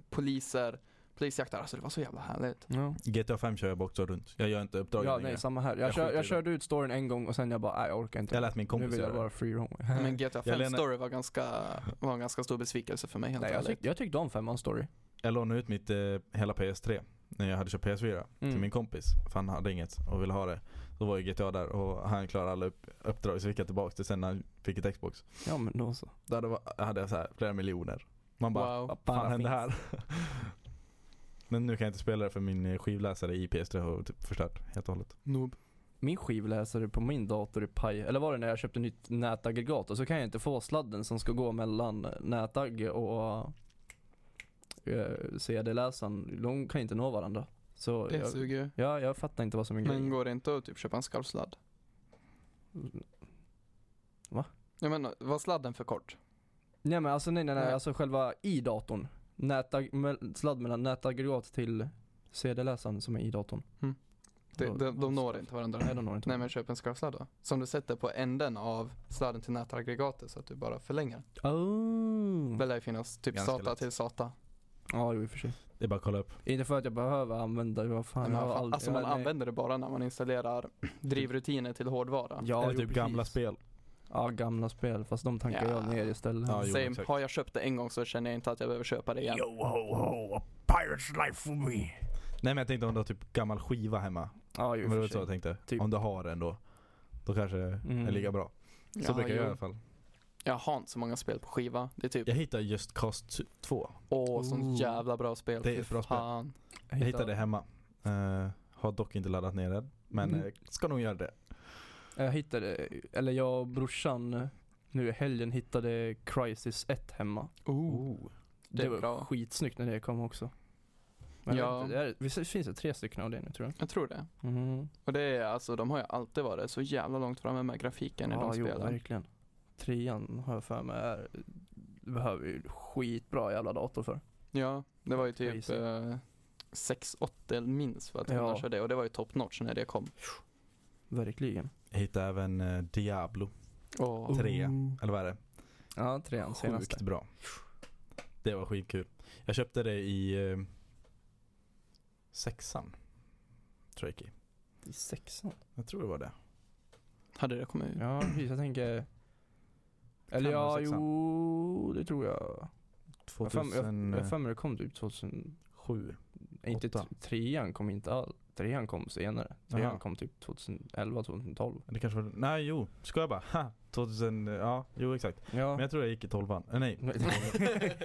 S1: poliser, polisjakter, alltså det var så jävla härligt.
S3: Ja,
S2: GTA 5 kör jag bara också runt. Jag gör inte uppdragen
S3: ja
S2: längre.
S3: nej samma här. Jag,
S2: Jag
S3: kör,
S2: skiter i
S3: jag
S2: det.
S3: körde ut storyn en gång och sen jag bara, nej jag orkar inte.
S2: Jag lät min
S3: nu
S2: kompis
S3: vill jag
S2: göra
S3: bara
S2: det.
S3: free roma.
S1: Men GTA 5
S2: lämnar-
S1: story var ganska, var en ganska stor besvikelse för mig helt
S3: Nej, jag,
S1: ärligt.
S3: tyck, jag tyckte om femman story.
S2: Jag lånade ut mitt eh, hela PS3 när jag hade köpt PS4 till
S3: Mm.
S2: min kompis. För han hade inget och ville ha det. Då var ju GTA där och han klarade alla upp, uppdrag så fick jag tillbaka det sen när han fick ett Xbox.
S3: Ja men då så.
S2: Där det var, hade jag så här, flera miljoner. Man bara,
S1: Wow.
S3: Vad
S2: vad
S3: bara
S2: fan hände
S3: finns.
S2: här? Men nu kan jag inte spela det för min eh, skivläsare i PS3 har typ förstört helt och hållet.
S1: Noob.
S3: Min skivläsare på min dator är paj. Eller var det när jag köpte nytt nätaggregat och så kan jag inte få sladden som ska gå mellan nätagg och eh, CD-läsaren. De kan inte nå varandra. Så
S1: Det
S3: jag,
S1: suger ju.
S3: ja, jag fattar inte vad som är
S1: Men
S3: grejen.
S1: går det inte att typ köpa en skarvsladd?
S2: Mm.
S3: Va?
S1: Jag menar, var sladden för kort?
S3: Nej men alltså nej nej, nej
S1: Nej.
S3: alltså själva i datorn. nätag- mel- sladd mellan nätaggregat till CD-läsaren som är i datorn.
S1: De,
S3: Då-
S1: Mm.
S3: alltså,
S1: de, de når inte varandra.
S3: Nej, de når inte
S1: Nej men köp en skarvsladd då. Som du sätter på änden av sladden till nätaggregatet så att du bara förlänger.
S3: Oh.
S1: Det lär ju finnas typ
S2: Mm. Ganska
S1: SATA
S2: lätt.
S1: till SATA.
S3: Ja, jo, i och för sig.
S2: Det är bara att kolla upp.
S3: Inte för att jag behöver använda det, vad fan.
S1: Nej, men
S3: jag
S1: vad
S3: har
S1: fan,
S3: aldrig-
S1: alltså man
S3: ja, nej.
S1: använder det bara när man installerar drivrutiner till hårdvara.
S3: Ja,
S2: Eller
S3: jo,
S2: typ
S3: precis.
S2: gamla spel.
S3: Ja, gamla spel. Fast de tankar jag
S1: Ja.
S3: ner istället.
S2: Ja, jo,
S1: Same,
S2: exakt.
S1: har jag köpt det en gång så känner jag inte att jag behöver köpa det igen.
S2: ho, ho, a pirate's life for me. Nej men jag tänkte om du har typ gammal skiva hemma.
S3: ja,
S2: Men
S3: jo, i
S2: det
S3: och
S2: var
S3: för
S2: så jag
S3: sig.
S2: tänkte.
S3: Typ.
S2: Om du har den då. Då kanske den
S3: Mm.
S2: är lika bra. Så
S1: Ja,
S2: brukar jag i
S1: jo.
S2: alla fall.
S1: Jag har inte så många spel på skiva. Det är typ,
S2: Jag hittade Just Cause 2.
S1: åh sånt
S3: Ooh.
S1: jävla bra spel.
S2: Det är
S1: Fy
S2: ett bra spel.
S1: fan.
S2: Jag hittade det hemma. Eh, har dock inte laddat ner den. Men
S3: Mm.
S2: eh, ska nog göra det.
S3: Jag hittade, eller jag och brorsan nu i helgen hittade Crisis 1 hemma.
S2: Oh.
S3: Det,
S1: Det är
S3: var
S1: bra.
S3: skitsnyggt när det kom också. Men
S1: Ja.
S3: jag vet inte, det är, visst finns det tre stycken av det nu tror jag?
S1: Jag tror det.
S3: Mm.
S1: Och det är alltså, de har ju alltid varit så jävla långt framme med grafiken i de
S3: jo,
S1: spelen.
S3: verkligen. Trean har jag för mig är, behöver ju skitbra jävla dator för.
S1: Ja, det var ju typ
S3: Crazy.
S1: eh, 680 minns för att
S3: Ja.
S1: jag ja. det och det var ju top notch när det kom.
S3: Verkligen.
S2: Jag hittade även eh, Diablo.
S1: Åh,
S2: Tre. Eller vad är det?
S3: Ja, trean
S2: Sjukt
S3: senaste.
S2: bra. Det var skitkul. Jag köpte det i eh, sexan. Tricky.
S3: I sexan? typ.
S2: Jag tror det var det.
S1: hade det kommit ut?
S3: Ja, precis. Jag tänker... Eller
S2: Kan
S3: ja,
S2: vara sexan.
S3: jo, det tror jag. Jag har för mig- jag- jag har
S2: 2007.
S3: för mig det kom typ 2000 Inte
S2: Åtta.
S3: t- trean kom inte all, trean kom senare. Trean
S2: Jaha.
S3: kom typ 2011, 2012.
S2: Det kanske var, nej jo, ska jag bara? Ha, 2000, ja jo exakt.
S3: Ja.
S2: Men jag tror jag gick i tolvan. Eh, nej,
S3: Mm.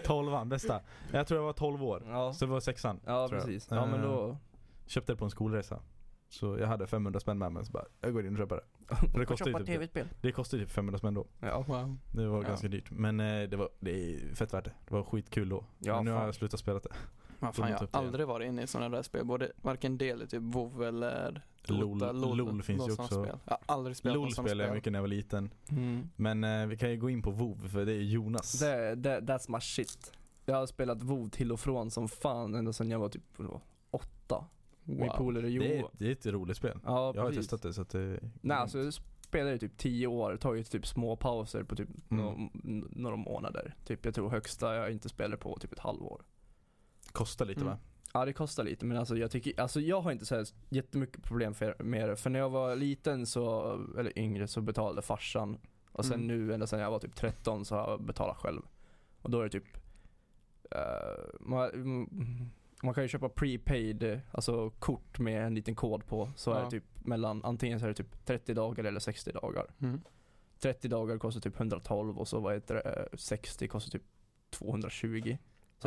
S2: tolvan, bästa. Jag tror jag var 12 år.
S3: ja.
S2: Så det var sexan.
S3: ja,
S2: tror jag. Eh,
S3: precis. Ja, men då.
S2: Köpte det på en skolresa. Så jag hade 500 spänn med mig så bara, jag går in och köper det. det kostar ju typ det.
S3: tv-spel.
S2: Det kostade typ 500 spänn då.
S3: Ja.
S1: Wow.
S2: Det var
S3: Ja.
S2: ganska dyrt. Men eh, det var det är fett värt det. Det var skitkul då.
S3: Ja,
S2: men nu har
S3: fan.
S2: jag slutat spela det.
S1: Ja, fan,
S2: Då
S1: jag
S2: måste
S1: har
S2: jag upp det igen.
S1: aldrig varit inne i sådana där spel. Både, varken del i typ WoW eller
S2: LOL,
S1: Dota,
S2: LOL, finns ju
S1: något sånt
S2: också.
S1: Spel. Jag har aldrig spelat
S2: LOL
S1: något sånt
S2: spelade jag
S1: spel.
S2: mycket när jag var liten.
S3: Mm.
S2: Men eh, vi kan ju gå in på WoW för det är Jonas.
S3: Det, det, that's my shit. Jag har spelat WoW till och från som fan ända sedan jag var typ vadå, åtta. Min
S1: Wow.
S3: polare
S2: Det är,
S3: Johan.
S2: ett- det är ett roligt spel.
S3: Ja,
S2: Jag har
S3: precis.
S2: testat det så att det
S3: Nej, alltså jag spelade i typ 10 år, tagit typ små pauser på typ några, några månader. Typ jag tror högsta jag inte spelade på typ ett halvår.
S2: kostar lite
S1: Mm.
S2: va?
S3: Ja det kostar lite men alltså jag tycker, alltså jag har inte så här jättemycket problem för, med det. För när jag var liten så, eller yngre så betalade farsan. Och sen
S1: Mm.
S3: nu, ända sen jag var typ 13 så har jag betalat själv. Och då är det typ, eh, man, mm, man kan ju köpa prepaid, eh, alltså kort med en liten kod på. Så är
S1: Ja.
S3: det typ mellan, antingen så är det typ 30 dagar eller 60 dagar.
S1: Mm.
S3: 30 dagar kostar typ 112 och så vad heter det, eh, 60 kostar typ 220. Så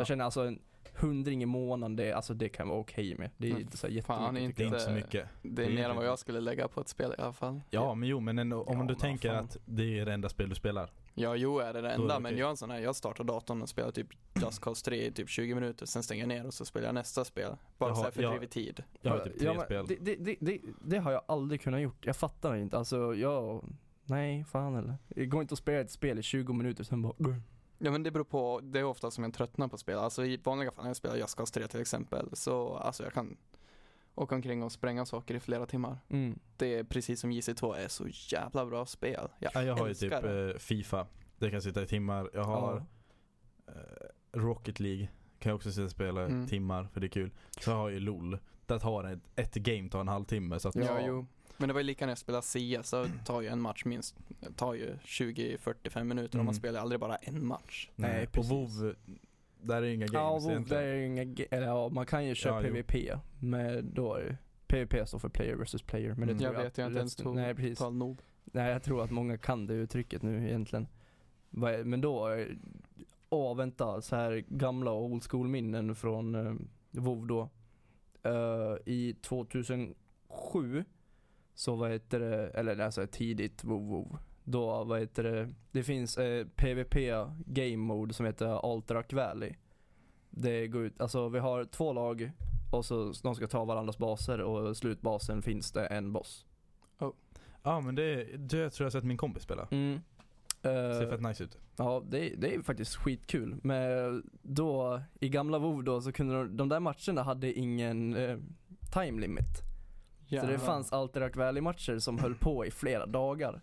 S2: Ja.
S3: jag känner alltså en hundring i månaden, det, alltså det kan vara okej med. Det är
S1: Men
S3: inte så här
S1: fan,
S3: jättemycket.
S1: inte-
S2: Det är inte så
S1: Det-
S2: mycket.
S1: Det är
S2: Det är
S1: mer än vad
S2: lite-
S1: jag skulle lägga på ett spel i alla fall.
S2: Ja men jo men ändå, om
S3: Ja,
S2: du
S3: men
S2: tänker
S3: fan.
S2: att det är det enda spel du spelar.
S1: Ja, jo är det det
S2: är det
S1: enda, men
S2: okej.
S1: jag är en sån här, jag startar datorn och spelar typ Just Cause 3 i typ 20 minuter, sen stänger jag ner och så spelar jag nästa spel. Bara
S2: Jaha,
S1: så här
S2: ja.
S1: fördrivit tid.
S2: Jag har typ tre
S3: men
S2: spel.
S3: Det, det, det, det, det har jag aldrig kunnat gjort. Jag fattar inte. Alltså jag, nej fan eller. Det går inte att spela ett spel i 20 minuter sen bara
S1: Ja men det beror på, det är ofta som jag tröttnar på spel. Alltså i vanliga fall när jag spelar Just Cause 3 till exempel, så alltså jag kan åka omkring och spränga saker i flera timmar.
S3: mm.
S1: Det är precis som JC2 är så jävla bra spel. Ja.
S2: Ja, jag har ju typ
S1: älskar
S2: eh, Fifa. Det kan sitta i timmar. Jag har eh, Rocket League. Kan jag också sitta och spela i
S1: Mm.
S2: timmar för det är kul. Så jag har ju LOL. Där tar ett, ett game tar en halvtimme. Så att,
S1: Ja, jo. Men det var ju lika när jag spelade CS, så tar ju en match minst, tar ju 20-45 minuter och man
S2: Mm.
S1: spelar aldrig bara en match.
S3: Nej,
S2: Nej, och
S3: precis.
S2: WoW, där är ju inga
S3: Ja,
S2: games
S3: WoW, det
S2: egentligen.
S3: är ju inga, ge- eller ja, man kan ju köra
S2: Ja, jo.
S3: PVP. Men då är ju, PVP står för player versus player. Men det
S2: Mm.
S3: tror
S1: Jag
S3: jag,
S1: vet ju inte ens
S3: resten- Nej precis.
S1: Tal nog.
S3: Nej, jag tror att många kan det uttrycket nu egentligen. Vad är- Men då, eh, åh vänta, så här gamla old school minnen från eh, WoW då. Eh, I 2007, så vad heter det, eller alltså tidigt WoW, WoW Då, vad heter det, det finns eh, PVP game mode som heter Alterac Valley. Det går ut, alltså vi har två lag och så de ska ta varandras baser och slutbasen finns det en boss.
S2: Ja men det, det tror jag har sett min kompis spela.
S3: Eh,
S2: Ser fett nice ut.
S3: Ja, det, det är faktiskt skitkul. Men då, i gamla WoW då, så kunde de, de där matcherna hade ingen eh, time limit. Så det
S1: Jävlar.
S3: fanns Alterac Valley-matcher som höll på i flera dagar.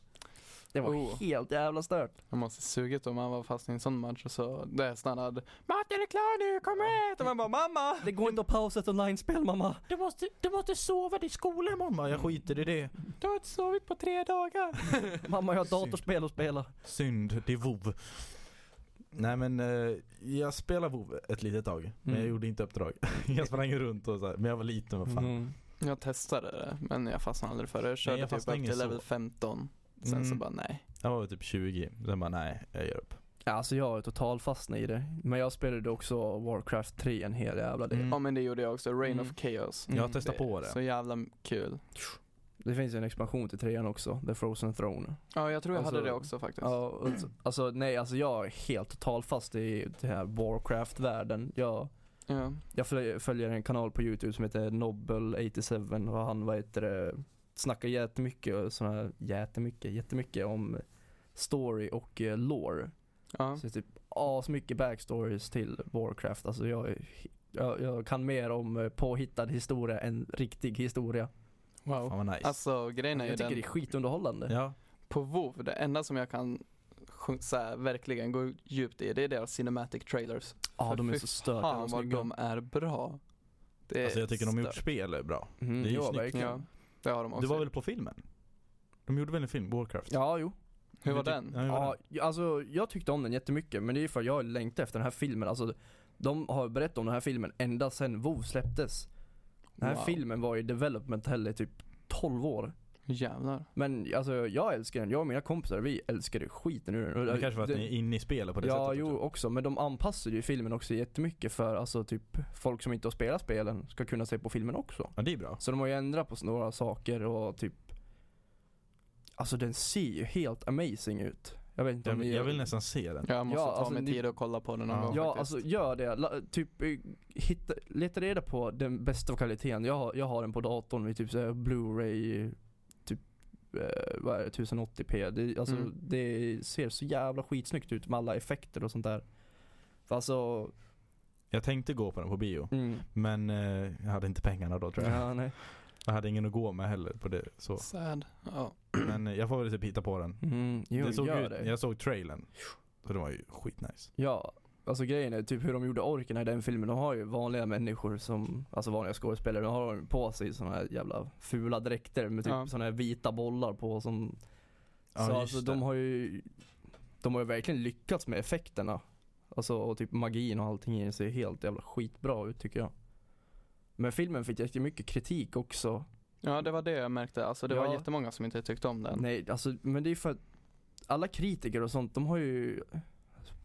S3: Det var
S1: Oh.
S3: helt jävla stört.
S1: Man måste sugit om man var fast i en sån match och så det stannade Maten är klar nu, kom hit! Och man bara mamma!
S3: Det går inte att pausa ett online-spel mamma.
S2: Du måste, du måste sova i skolan mamma. Jag skiter i det.
S1: Du har inte sovit på tre dagar!
S3: Mamma jag har ett datorspel att spela.
S2: Synd, det är vov. Nej men eh, jag spelade vov ett litet tag. Men jag
S3: Mm.
S2: gjorde inte uppdrag. jag sprang runt och så här, Men jag var liten vad fan.
S3: Mm.
S1: Jag testade det men jag fastnade aldrig för det. Jag körde
S2: jag
S1: typ upp
S2: fastnade
S1: till
S2: ingen så.
S1: level 15. Sen så
S2: Mm.
S1: bara nej.
S2: Jag var väl typ 20. Sen bara nej, jag ger upp.
S3: Ja, alltså jag är totalt fastnat i det. Men jag spelade också Warcraft 3 en hel jävla del.
S1: Ja
S2: Mm.
S1: men det gjorde jag också, Rain
S3: Mm.
S1: of Chaos.
S3: Mm.
S2: Jag har testat
S1: Det är
S2: på det.
S1: Så jävla kul.
S3: Det finns ju en expansion till trean också, The Frozen Throne.
S1: Ja jag tror jag hade
S3: Alltså,
S1: det också faktiskt.
S3: Ja, och alltså- alltså nej, alltså jag är helt totalt fast i den här Warcraft-världen. Jag,
S1: Ja.
S3: jag följ- följer en kanal på YouTube som heter Nobel87 och han vad heter det, snackar jättemycket, och såna här, jättemycket, jättemycket om story och eh, lore.
S1: Ja.
S3: Så det är typ asmycket backstories till Warcraft. Alltså jag, är he- jag, jag kan mer om eh, påhittad historia än riktig historia.
S1: Wow.
S2: Fan vad nice.
S1: Alltså grejen är ju
S3: jag tycker
S1: den,
S3: det är skitunderhållande.
S2: ja.
S1: på WoW, det enda som jag kan sj- så här, verkligen gå djupt i det är deras cinematic trailers.
S3: Ja,
S1: För
S3: de är
S1: fy
S3: så stökiga.
S1: Fan vad de är bra. Det
S2: Alltså jag tycker de har gjort
S1: stört.
S2: spel är bra.
S3: Mm,
S2: Det är ju
S3: ja,
S2: snyggt.
S3: verkligen.
S1: Ja, det har de också.
S2: Du var väl på filmen? De gjorde väl en film, Warcraft?
S3: Ja, jo.
S1: Hur var
S2: tyck-
S1: den?
S2: Ja, hur var
S3: Ja, jag- alltså jag tyckte om den jättemycket men det är ju för att jag längtar efter den här filmen. Alltså, de har berättat om den här filmen ända sedan WoW släpptes. Den här
S1: Wow.
S3: filmen var i development hell i typ 12 år.
S1: Jävlar.
S3: Men alltså jag älskar den. Jag och mina kompisar vi älskade skiten ur den.
S2: den? Det kanske var att ni är inne i spelet på det
S3: Ja,
S2: sättet typ.
S3: jo
S2: också.
S3: också. Men de anpassade ju filmen också jättemycket för alltså typ folk som inte har spelat spelen ska kunna se på filmen också.
S2: Ja, det är bra.
S3: Så de har ju ändrat på några saker och typ Alltså den ser ju helt amazing ut. Jag vet inte
S2: Jag
S3: om
S2: vill,
S3: ni-
S2: jag vill nästan se den.
S1: Jag måste
S3: Ja,
S1: ta
S3: alltså,
S1: mig
S3: ni-
S1: tid och kolla på den någon
S2: Ja.
S1: gång
S3: Ja,
S1: faktiskt.
S3: alltså gör det. La, typ, eh, hitta, leta reda på den bästa kvaliteten. Jag, har- jag har den på datorn med typ så här Blu-ray, typ eh, vad är det, 1080p. Det, alltså,
S1: Mm.
S3: det ser så jävla skitsnyggt ut med alla effekter och sånt där. För alltså,
S2: Jag tänkte gå på den på bio. Men eh, jag hade inte pengarna då Mm, tror jag.
S3: ja, nej.
S2: Jag hade ingen att gå med heller på det. Så.
S1: Sad. Ja.
S2: Men eh, jag får väl typ hitta på den.
S3: Mm, jo,
S2: det såg
S3: gör
S2: ju,
S3: det.
S2: Jag såg trailern. Så det var ju skitnice.
S3: Ja, alltså grejen är typ hur de gjorde orken i den filmen. De har ju vanliga människor som, alltså vanliga skådespelare. De har på sig såna här jävla fula dräkter med typ
S1: Ja.
S3: såna här vita bollar på som
S2: Ja,
S3: Så
S2: just
S3: alltså
S2: det.
S3: de har ju De har ju verkligen lyckats med effekterna. Alltså och typ magin och allting i den ser helt jävla skitbra ut tycker jag. Men filmen fick jättemycket kritik också.
S1: ja, det var det jag märkte. Alltså det var
S3: Ja.
S1: jättemånga som inte tyckte om den.
S3: Nej, alltså men det är för att alla kritiker och sånt, de har ju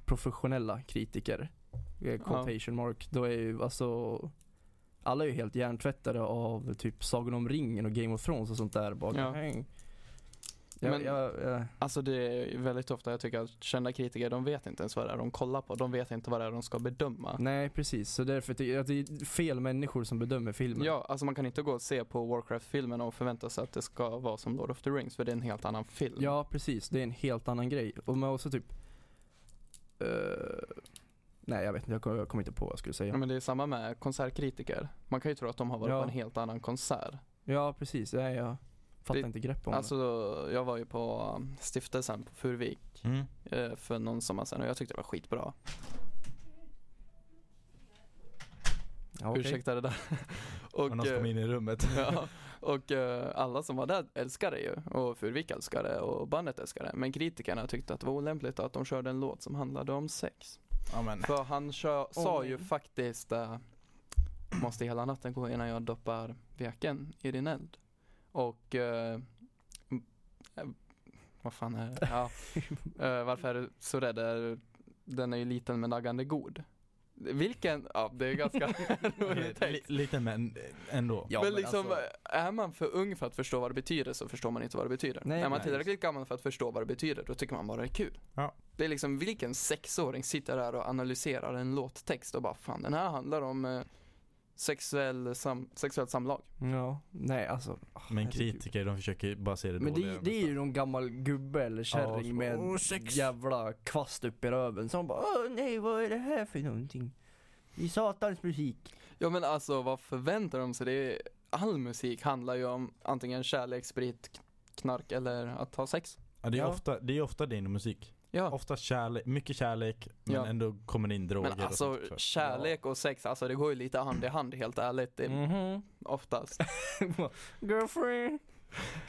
S3: professionella kritiker. Eh, Quotation mark. Då är ju alltså alla är ju helt hjärntvättade av typ Sagan om ringen och Game of Thrones och sånt där. Bara,
S1: Ja.
S3: ja. Jag,
S1: Men-
S3: jag, jag,
S1: Alltså det är väldigt ofta jag tycker att kända kritiker, de vet inte ens vad det är de kollar på. De vet inte vad det är de ska bedöma.
S3: Nej precis, så därför tycker jag att det är fel människor som bedömer filmen.
S1: Ja, alltså man kan inte gå och se på Warcraft-filmen och förvänta sig att det ska vara som Lord of the Rings, för det är en helt annan film.
S3: Ja, precis, det är en helt annan grej. Och man också typ eh, Nej jag vet inte, jag kom, jag kom inte på vad jag skulle
S1: Ja,
S3: säga.
S1: men det är samma med konsertkritiker. Man kan ju tro att de har varit
S3: Ja.
S1: på en helt annan konsert.
S3: Ja precis, nej, jag fattar
S1: Det-
S3: inte grepp om
S1: Alltså jag var ju på um, stiftelsen på Furuvik
S2: Mm.
S1: eh, för någon sommar sedan och jag tyckte det var skitbra.
S3: det. Ja, okej.
S1: Ursäkta det där.
S2: Och någon
S1: och
S2: som kom
S1: eh,
S2: in i rummet.
S1: ja, och eh, alla som var där älskade det ju och Furuvik älskade det och bandet älskade det. Men kritikerna tyckte att det var olämpligt att de körde en låt som handlade om sex.
S2: Ja, men.
S1: För han kö- sa
S3: Oj.
S1: ju faktiskt eh, Måste hela natten gå innan jag doppar veken i din eld. Och eh, m- eh, vad fan är det? Ja. Eh, varför är du så rädd? Är- Den är ju liten men naggande god. Vilken, ja det är ganska rolig
S2: Li-
S1: text.
S2: lite men eh, ändå.
S3: ja,
S1: men liksom,
S3: alltså,
S1: är man för ung för att förstå vad det betyder så förstår man inte vad det betyder.
S3: Nej,
S1: är man
S2: nej.
S1: tillräckligt gammal för att förstå vad det betyder då tycker man bara det är kul.
S2: Ja.
S1: Det är liksom, vilken sexåring sitter där och analyserar en låttext och bara fan den här handlar om eh, sexuell sam, sexuellt samlag.
S3: Ja, nej alltså.
S2: Men
S3: herregud.
S2: kritiker de försöker bara se det
S3: Men
S2: dåliga.
S3: det, det är ju någon gammal gubbe eller kärring
S2: så-
S3: med en
S2: Åh, sex.
S3: jävla kvast upp i röven som bara Åh nej vad är det här för någonting? Det är satans musik.
S1: Ja men alltså vad förväntar de sig? Det är, all musik handlar ju om antingen kärlek, sprit, k- knark eller att ha sex.
S2: ja, det, är
S3: Ja.
S2: ofta, det är ofta det inom musik.
S1: Ja.
S2: Ofta kärlek, mycket kärlek men
S1: Ja.
S2: ändå kommer det in droger
S1: Men
S2: och
S1: alltså
S2: sånt också.
S1: kärlek och sex, alltså det går ju lite hand i hand helt ärligt. Det är
S2: Mm.
S3: Mhm.
S1: oftast.
S3: Girlfriend.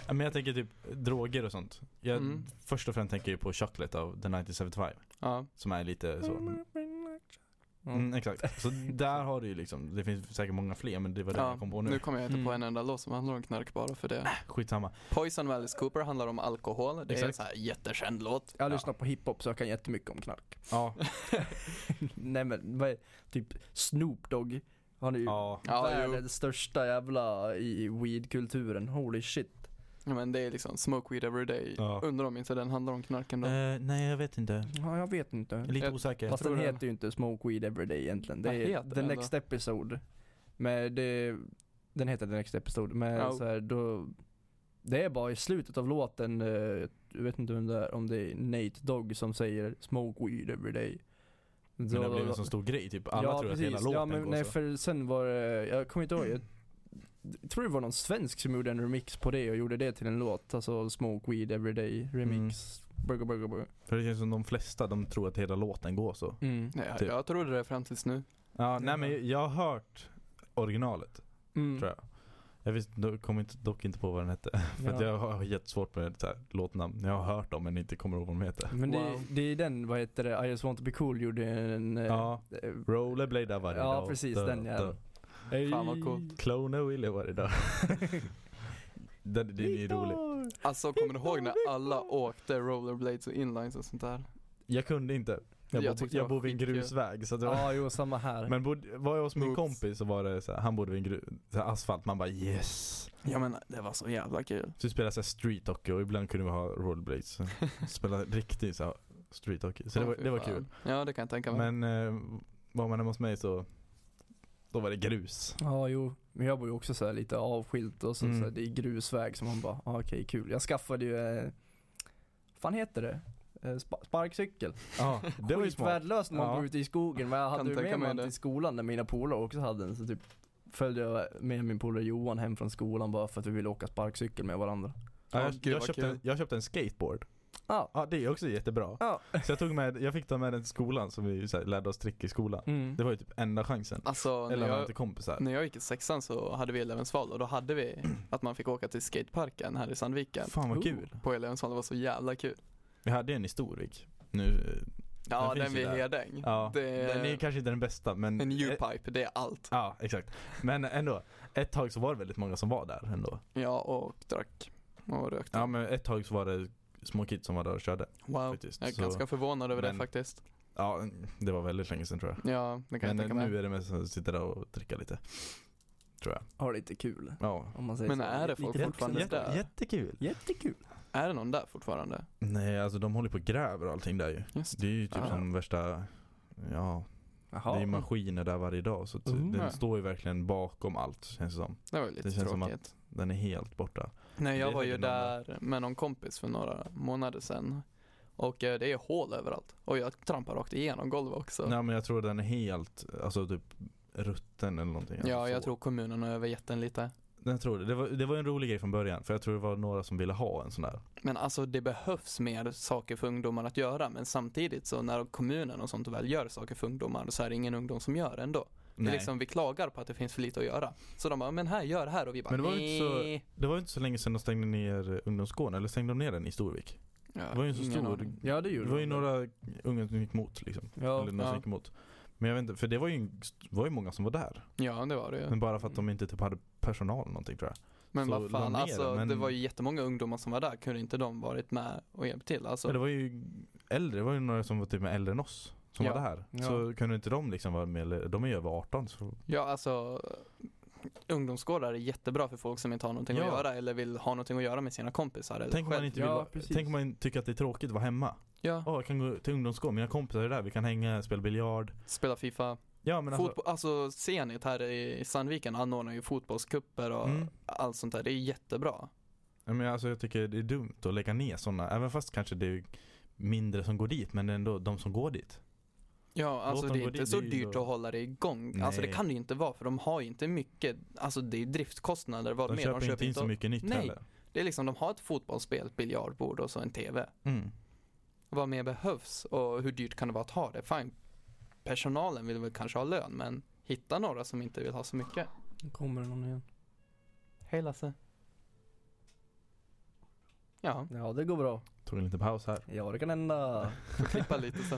S2: Ja, Men jag tänker typ droger och sånt. Jag,
S1: Mm.
S2: Först och främst tänker jag ju på Chocolate av The 1975.
S1: Ja.
S2: Som är lite så. Mm,
S3: Mm.
S2: exakt. Så där har du ju liksom, det finns säkert många fler men det var det
S1: ja.
S2: jag kom på nu.
S1: nu kommer jag inte på
S3: Mm.
S1: en enda låt som handlar om knark bara för det.
S2: Skitsamma.
S1: Poison Valley Cooper handlar om alkohol. Det är en
S2: Exakt.
S1: sån här jättekänd låt.
S3: Jag lyssnar på hiphop så jag kan jättemycket om knark.
S2: Ja.
S3: nej men vad är, typ Snoop Dogg. Han är ju
S2: ja.
S1: Ja, jo.
S3: världens största jävla i weed-kulturen. Holy shit.
S1: Ja, men det är liksom smoke weed every day.
S2: Ja.
S1: Undrar om inte den handlar om knark ändå.
S2: Eh, nej jag vet inte.
S3: Ja, jag vet inte.
S2: Jag är lite
S1: Jag-
S2: osäker.
S3: Fast
S1: tror
S3: den
S1: det.
S3: heter ju inte Smoke Weed Everyday egentligen. Det
S1: Vad
S3: är
S1: heter
S3: The
S1: den då?
S3: Next Episode. Men det, den heter The Next Episode. Men
S1: Ja.
S3: så här, då, det är bara i slutet av låten, eh, jag vet inte vem det är, om det är Nate Dogg som säger Smoke Weed Everyday.
S2: Men det blev en sån stor grej typ. Alla tror att hela låten
S3: ja, men,
S2: går
S3: nej,
S2: så.
S3: för sen var det, jag kommer inte ihåg, jag tror det var någon svensk som gjorde en remix på det och gjorde det till en låt. Alltså Smoke Weed Everyday remix.
S2: Mm.
S3: Burger, burger, burger.
S2: För det känns som de flesta de tror att hela låten går så.
S3: Mm.
S1: Nej, jag,
S2: typ.
S1: jag trodde det fram tills nu.
S2: Ja, nej men jag har hört originalet
S3: Mm.
S2: tror jag. Jag visste, då kom inte, dock inte på vad den hette. För att
S3: Ja.
S2: jag har jättesvårt med så här, låtnamn. Jag har hört dem men inte kommer ihåg vad de heter.
S3: Men
S1: Wow.
S3: det, det är den, vad heter det, I just want to be cool gjorde en... eh,
S2: Ja,
S3: eh,
S2: Rollerblade varje
S3: Ja,
S2: dag.
S3: precis, den jäveln.
S1: Fan, vad coolt.
S2: Clone Willy varje dag. den, den är ju rolig.
S1: Alltså kommer du ihåg när alla åkte rollerblades och inlines och sånt där?
S2: Jag kunde inte. Jag,
S1: Jag
S2: bo,
S1: tyckte det
S2: jag
S1: var
S2: bor vid en
S1: skitkul.
S2: grusväg. Så att det var,
S3: Ja, jo samma här.
S2: Men bodde, var jag hos min
S1: Oops.
S2: kompis så var det så här, han bodde vid en gru, så här, asfalt. Man bara yes.
S1: Ja men det var så jävla kul.
S2: Så vi spelade Typ så här street hockey och ibland kunde vi ha rollerblades. Spela riktigt så här street hockey. Så det
S1: Åh,
S2: var,
S1: fy
S2: det var
S1: fan.
S2: kul.
S1: Ja det kan jag tänka mig.
S2: Men eh, var man hemma hos mig så då var det grus.
S3: Ja, jo. Men jag bor ju också så här lite avskilt och så,
S2: Mm.
S3: så här, det är grusväg som man bara, ah, okej kul. Jag skaffade ju, eh, fan heter det? Eh, spa- sparkcykel.
S2: Ja, det var ju smart.
S3: Skitvärdelöst när man
S2: Ja.
S3: bor ute i skogen men jag
S1: Kan
S3: hade ju
S1: tänka
S3: med
S1: mig
S3: mig den
S1: det.
S3: till skolan när mina polare också hade den så typ följde jag med min polare Johan hem från skolan bara för att vi ville åka sparkcykel med varandra.
S2: Ja,
S1: Ja,
S2: jag,
S1: gud,
S2: jag,
S1: vad
S2: köpte
S1: kul.
S2: en, jag köpte en skateboard.
S3: Ja.
S2: Ja, det är också jättebra.
S3: Ja.
S2: Så jag, tog med, jag fick ta med den till skolan som vi så här, lärde oss trick i skolan. Det var ju typ enda chansen.
S1: alltså Mm. när
S2: Eller jag...
S1: jag,
S2: till kompisar.
S1: när jag gick i sexan så hade vi Elevensval och då hade vi att man fick åka till skateparken här i Sandviken.
S2: Fan
S3: Oh.
S2: vad kul.
S1: På Elevensval, det var så jävla kul.
S2: Vi hade en i Storvik. Nu,
S1: Ja
S2: Den
S1: den,
S2: finns ju
S1: vid
S2: där.
S1: Hedäng.
S2: ja,
S1: Det
S2: Den är eh,
S1: är
S2: kanske inte den bästa men
S1: en U-pipe, det är allt.
S2: Ja, exakt. Men ändå, ett tag så var det väldigt många som var där ändå.
S1: Ja och drack och rökte.
S2: Ja men ett tag så var det små kids som var där och körde
S1: wow.
S2: faktiskt.
S1: Jag är
S2: Så,
S1: ganska förvånad över det
S2: Men-
S1: faktiskt.
S2: Ja, det var väldigt länge sedan tror jag.
S1: Ja, det kan jag tänka
S2: Men eh,
S1: mig.
S2: nu är det mest att sitta där och dricka lite. Tror jag.
S3: Har lite kul.
S2: Ja.
S3: Om man säger
S1: Men
S3: så.
S1: är det
S3: Lite
S1: folk
S3: vuxen-
S1: fortfarande
S3: Jätte-
S1: där?
S2: jättekul.
S3: Jättekul.
S1: Är det någon där fortfarande?
S2: Nej, alltså de håller på och gräver och allting där ju.
S1: Just.
S2: Det är ju typ
S1: Ja.
S2: som värsta, ja,
S3: Jaha.
S2: det är ju maskiner där varje dag. Så att
S3: Mm.
S2: den står ju verkligen bakom allt känns det som.
S1: Det var ju lite
S2: Det känns som
S1: tråkigt.
S2: att- Den är helt borta.
S1: Nej, jag
S2: Det är
S1: var ju
S2: säkert någon
S1: där med någon kompis för några månader sedan. Och eh, det är hål överallt. Och jag trampar rakt igenom golvet också.
S2: Nej men jag tror den är helt, alltså typ rutten eller någonting.
S1: ja,
S2: Alltså
S1: jag
S2: så.
S1: tror kommunen har övergett den lite.
S2: Jag tror det. Det var, det var en rolig grej från början, för jag tror det var några som ville ha en sån där.
S1: Men alltså det behövs mer saker för ungdomar att göra. Men samtidigt så när kommunen och sånt väl gör saker för ungdomar så är det ingen ungdom som gör det ändå. Det är liksom, vi klagar på att det finns för lite att göra. Så de bara, men här, gör det här. Och vi bara,
S2: Men det var ju inte så-
S1: "Nej."
S2: Det var ju inte så länge sedan de stängde ner ungdomsgården, eller stängde de ner den i Storvik?
S1: Ja,
S2: Det var ju en så
S1: ingen
S2: stor,
S1: aning.
S3: Ja det
S2: det
S3: gjorde
S2: var ju
S3: de.
S2: några unga som gick emot liksom.
S3: Ja.
S2: eller några
S1: ja.
S2: som gick emot. Men jag vet inte, för det var ju, en- var ju många som var där.
S1: Ja, det var det ju.
S2: Men bara för att de inte typ hade personal eller någonting tror jag.
S1: Men
S2: Så
S1: vad
S2: la
S1: fan,
S2: ner
S1: alltså
S2: det, men-
S1: det var ju jättemånga ungdomar som var där. Kunde inte de varit med och hjälpt till? Alltså,
S2: Ja, det var ju äldre, det var ju några som var typ äldre än oss. Som
S1: Ja.
S2: var där. Så kunde inte de liksom vara med, eller de är ju över 18 så
S1: Ja, alltså ungdomsgårdar är jättebra för folk som inte har någonting att
S2: Ja.
S1: göra eller vill ha någonting att göra med sina kompisar. Eller
S2: Tänk om,
S1: själv.
S2: man inte vill,
S3: Ja,
S2: vara-
S3: precis.
S2: tänk om man tycker att det är tråkigt att vara hemma.
S1: Ja,
S2: Ja, jag kan gå till ungdomsgården, mina kompisar är där, vi kan hänga, spela biljard.
S1: spela FIFA.
S2: Ja men alltså,
S1: Fotboll, alltså Zenit här i Sandviken anordnar ju fotbollskupper och
S2: Mm.
S1: allt sånt där. Det är jättebra.
S2: ja, men alltså jag tycker det är dumt att lägga ner sådana. Även fast kanske det är mindre som går dit men ändå de som går dit.
S1: Ja, alltså
S2: dem
S1: det är
S2: gå
S1: inte
S2: dit,
S1: så
S2: det är ju
S1: dyrt
S2: så-
S1: att hålla det igång. Alltså det
S2: Nej.
S1: kan det ju inte vara för de har ju inte mycket, alltså det är driftkostnader vad
S2: De
S1: mer.
S2: köper inte in så mycket nytt
S1: Nej.
S2: heller.
S1: Det är liksom, de har ett fotbollsspel, ett biljardbord och så en TV.
S2: Mm.
S1: Vad mer behövs och hur dyrt kan det vara att ha det? Fine, personalen vill väl kanske ha lön men hitta några som inte vill ha så mycket.
S3: Nu kommer det någon igen.
S1: Hej Lasse. Ja,
S3: Ja, det går bra.
S2: Tog en liten paus här.
S3: Ja, det kan hända.
S1: får klippa lite så.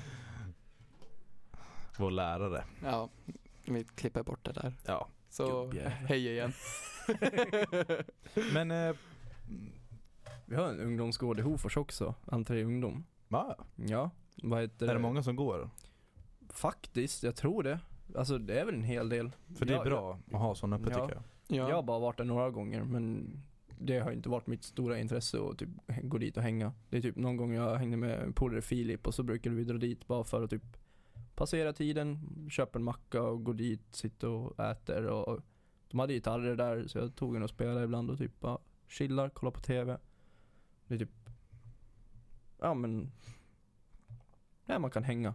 S2: Vår lärare.
S1: Ja, vi klipper bort det där.
S2: Ja.
S1: Så
S3: Gubbjävel.
S1: hej igen.
S2: Men, eh,
S3: Vi har en ungdomsgård i Hofors också. Entré ungdom.
S2: ja.
S3: Ja, vad heter
S2: är det många som går?
S3: Faktiskt, jag tror det. Alltså det är väl en hel del.
S2: För det är
S3: Ja,
S2: bra att ha sådana öppet
S3: Ja.
S2: tycker jag.
S1: Ja.
S3: Jag har bara varit där några gånger men det har inte varit mitt stora intresse att typ gå dit och hänga. Det är typ någon gång jag hängde med en polare Filip och så brukade vi dra dit bara för att typ passera tiden, köpa en macka och gå dit, sitta och äter och de hade gitarrer där så jag tog en och spelade ibland och typ bara chillar, kollar på TV. Det är typ, ja men, ja man kan hänga.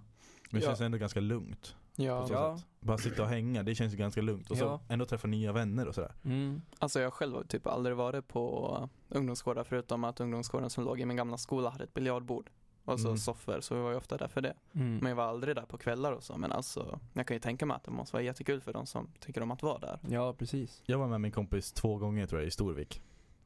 S2: Men det
S1: Ja.
S2: känns ändå ganska lugnt. På
S1: Ja,
S2: så sätt. Bara sitta och hänga, det känns ju ganska lugnt. Och så
S3: Ja.
S2: ändå träffa nya vänner och sådär.
S3: Mm.
S1: alltså jag själv har typ aldrig varit på ungdomsgårdar förutom att ungdomsgården som låg i min gamla skola hade ett biljardbord och så
S2: Mm.
S1: soffor så vi var ju ofta där för det.
S3: Mm.
S1: Men jag var aldrig där på kvällar och så men alltså jag kan ju tänka mig att det måste vara jättekul för de som tycker om att vara där.
S3: Ja precis.
S2: Jag var med min kompis två gånger tror jag i Storvik.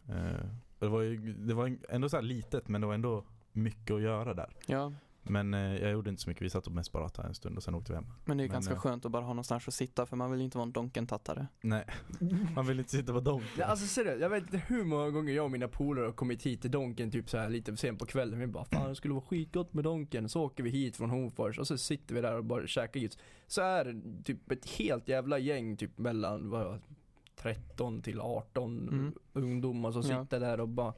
S2: Eh, och det var ju det var ju ändå så här litet men det var ändå mycket att göra där.
S1: Ja,
S2: Men eh, jag gjorde inte så mycket, vi satt och mest bara pratade en stund och sen åkte vi hem.
S1: men det är ju
S2: Men,
S1: ganska
S2: eh,
S1: skönt att bara ha någonstans att sitta för man vill ju inte vara en donkentattare.
S2: Nej, man vill inte sitta på
S3: Ja,
S2: donken.
S3: alltså seriöst, jag vet inte hur många gånger jag och mina polare har kommit hit till Donken typ så här lite sent på kvällen. Vi bara fan det skulle vara skitgott med Donken. Så åker vi hit från Hofors och så sitter vi där och bara käkar gips. Så är det typ ett helt jävla gäng typ mellan vad, 13 till 18
S1: Mm.
S3: ungdomar som
S1: Ja.
S3: sitter där och bara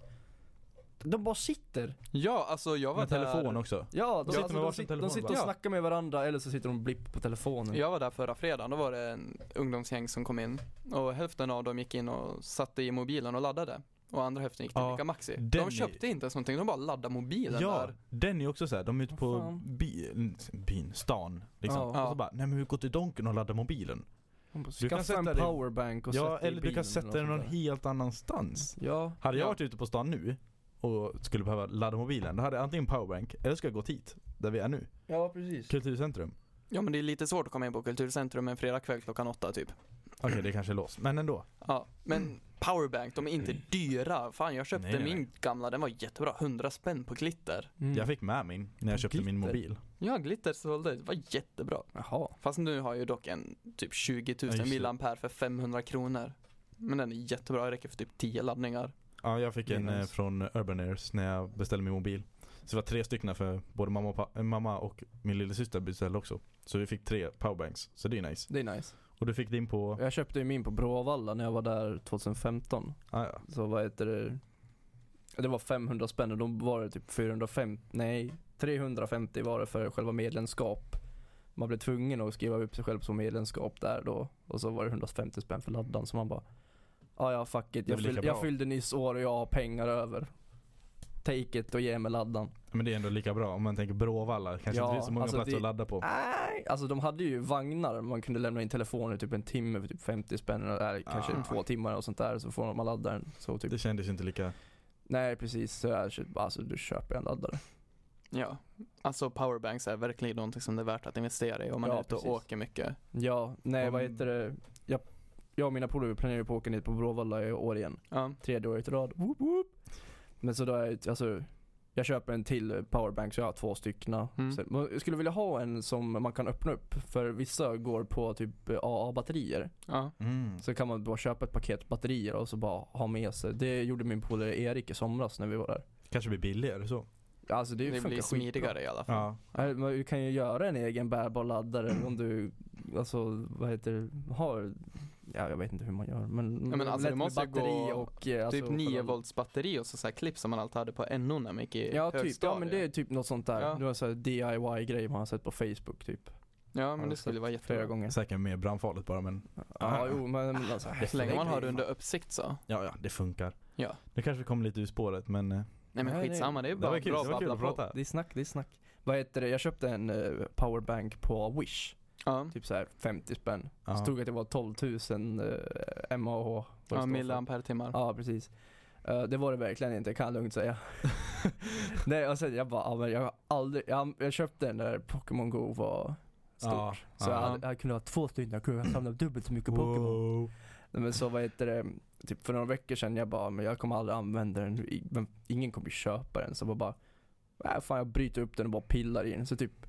S3: de bara sitter.
S1: Ja, alltså jag var
S2: Med telefon
S1: där.
S2: också.
S3: Ja, de,
S2: sitter
S3: alltså,
S2: med
S3: de,
S2: varsin
S3: sitter, de
S2: telefon
S3: sitter och
S1: bara.
S3: snackar med varandra eller så sitter de och blipp på telefonen.
S1: Jag var där förra fredagen, då var det en ungdomsgäng som kom in och hälften av dem gick in och satte i mobilen och laddade och andra hälften gick till
S2: Ja,
S1: Ica Maxi.
S2: den är-
S1: De köpte inte ens någonting, de bara laddade mobilen
S2: Ja,
S1: där.
S2: den är också såhär, de är ute
S3: Vad
S2: på
S3: fan.
S2: by, byn, stan liksom.
S3: Ja.
S2: Och så bara, nej men vi går till donken och laddar mobilen.
S3: De bara,
S2: Du kan
S3: Skaffa en
S2: sätta dig-
S3: powerbank och
S2: Ja,
S3: sätt dig i
S2: eller du
S3: bilen
S2: kan sätta
S3: något
S2: den
S3: sånt
S2: någon
S3: där.
S2: helt annanstans.
S3: Ja,
S2: Hade jag
S1: Ja.
S2: varit ute på stan nu och skulle behöva ladda mobilen, då hade jag antingen powerbank eller skulle jag gått hit, där vi är nu.
S3: ja precis.
S2: Kulturcentrum.
S1: Ja men det är lite svårt att komma in på Kulturcentrum en fredagkväll klockan åtta typ.
S2: Okej, det kanske är låst, men ändå.
S3: Mm.
S1: Ja, men powerbank, de är inte dyra. Fan jag köpte
S2: Mm. Nej, nej,
S1: min
S2: nej.
S1: gamla, den var jättebra, 100 spänn på glitter.
S3: Mm.
S2: Jag fick med min när jag köpte min
S3: Glitter.
S2: mobil.
S1: Ja, glitter sålde, det var jättebra.
S3: Jaha.
S1: Fast nu har jag ju dock en typ 20 000
S2: Ja, just det.
S1: milliampere för 500 kronor. Men den är jättebra, det räcker för typ 10 laddningar.
S2: Ja, jag fick
S3: Det är
S2: en eh,
S3: nice.
S2: från Urban Airs när jag beställde min mobil. Så det var tre stycken för både mamma och, pa- eh, mamma och min lillasyster beställde också. Så vi fick tre powerbanks, så det är nice.
S3: Det är nice.
S2: Och du fick din på...
S3: Jag köpte ju min på Bråvalla när jag var där 2015.
S2: Ah, ja.
S3: Så vad heter det? Det var 500 spänn och då var det typ 450, nej 350 var det för själva medlemskap. Man blev tvungen att skriva upp sig själv som medlemskap där då. Och så var det 150 spänn för laddan så man bara "Ah, Ja ja fuck it,
S2: Det är
S3: jag,
S2: väl
S3: fyll,
S2: lika
S3: jag
S2: bra."
S3: fyllde nyss år och jag har pengar över. Take it och ge mig laddan.
S2: Men det är ändå lika bra om man tänker Bråvalla. Kanske
S3: Ja,
S2: inte finns så många
S3: alltså
S2: platser
S3: det-
S2: att ladda på.
S3: Nej, alltså de hade ju vagnar man kunde lämna in telefoner typ en timme för typ 50 spänn eller kanske
S2: Ah.
S3: två timmar och sånt där så får man ladda den. Så typ,
S2: Det kändes ju inte lika...
S3: nej precis, så jag köpt- alltså du köper en laddare.
S1: Ja, alltså powerbanks är verkligen någonting som det är värt att investera i om man
S3: Ja,
S1: är ute och
S3: precis.
S1: åker mycket.
S3: Ja, nej
S2: Om-
S3: vad heter det? Jag, jag och mina polare planerar ju på att åka ner på Bråvalla i år igen.
S1: Ja,
S3: Tredje året i rad. Woop, woop. Men så då är jag, alltså, jag köper en till powerbank så jag har två stycken.
S1: Mm.
S3: Sen- men Jag skulle vilja ha en som man kan öppna upp för vissa går på typ AA-batterier.
S1: ja.
S2: Mm.
S3: Så kan man bara köpa ett paket batterier och så bara ha med sig. Det gjorde min polare Erik i somras när vi var där.
S2: Kanske blir billigare så.
S3: Alltså det,
S1: Det
S3: funkar
S1: blir
S3: skitbra.
S1: smidigare i alla fall.
S2: Ja.
S3: Nej, men Du kan ju göra en egen bärbar laddare om du, alltså vad heter det, har, ja jag vet inte hur man gör men,
S1: men alltså,
S3: lätt
S1: det
S3: med
S1: måste gå
S3: och, eh, alltså,
S1: Typ 9
S3: själva-
S1: volts batteri och så, så här klipp som man alltid hade på NO när man gick i
S3: Ja typ,
S1: högstadiet.
S3: ja men det är typ något sånt där.
S1: Ja.
S3: Det var en sån här DIY grej man har sett på Facebook typ.
S1: Ja
S3: har
S1: men det skulle
S3: sett
S1: vara
S3: Flera
S1: jättebra.
S3: gånger.
S2: Säkert mer brandfarligt bara men
S3: Ja, jo men, men alltså.
S1: Så länge man har det under uppsikt så.
S2: ja, ja det funkar.
S1: Ja.
S2: Nu kanske vi kommer lite ur spåret men eh,
S1: Nej men
S3: Nej, det-
S1: skitsamma, det är
S2: det
S1: bara
S2: var kul,
S1: bra
S2: det var kul
S1: babbla
S2: att
S1: på.
S2: prata.
S3: Det är snack, det är snack. Vad heter det? Jag köpte en eh, powerbank på Wish.
S1: Ja,
S3: Typ så här 50 spänn.
S2: Ja.
S3: Så stod att det var 12 000 eh, MAH. vad det står
S1: ja
S3: för.
S1: milliampere-timmar.
S3: Ja, precis. Eh, det var det verkligen inte, kan jag lugnt säga. Nej, och sen jag bara, ja, men jag har aldrig, jag, jag köpte den där Pokémon Go var stort.
S2: Ja, ja.
S3: Så jag, hade, jag kunde ha två stycken, jag kunde ha samlat dubbelt så mycket Pokémon.
S2: Wow.
S3: Nej, men så vad heter det, typ för några veckor sedan jag bara, men jag kommer aldrig använda den, I- men ingen kommer ju köpa den. Så jag bara, äh, fan jag bryter upp den och bara pillar i den. Så typ,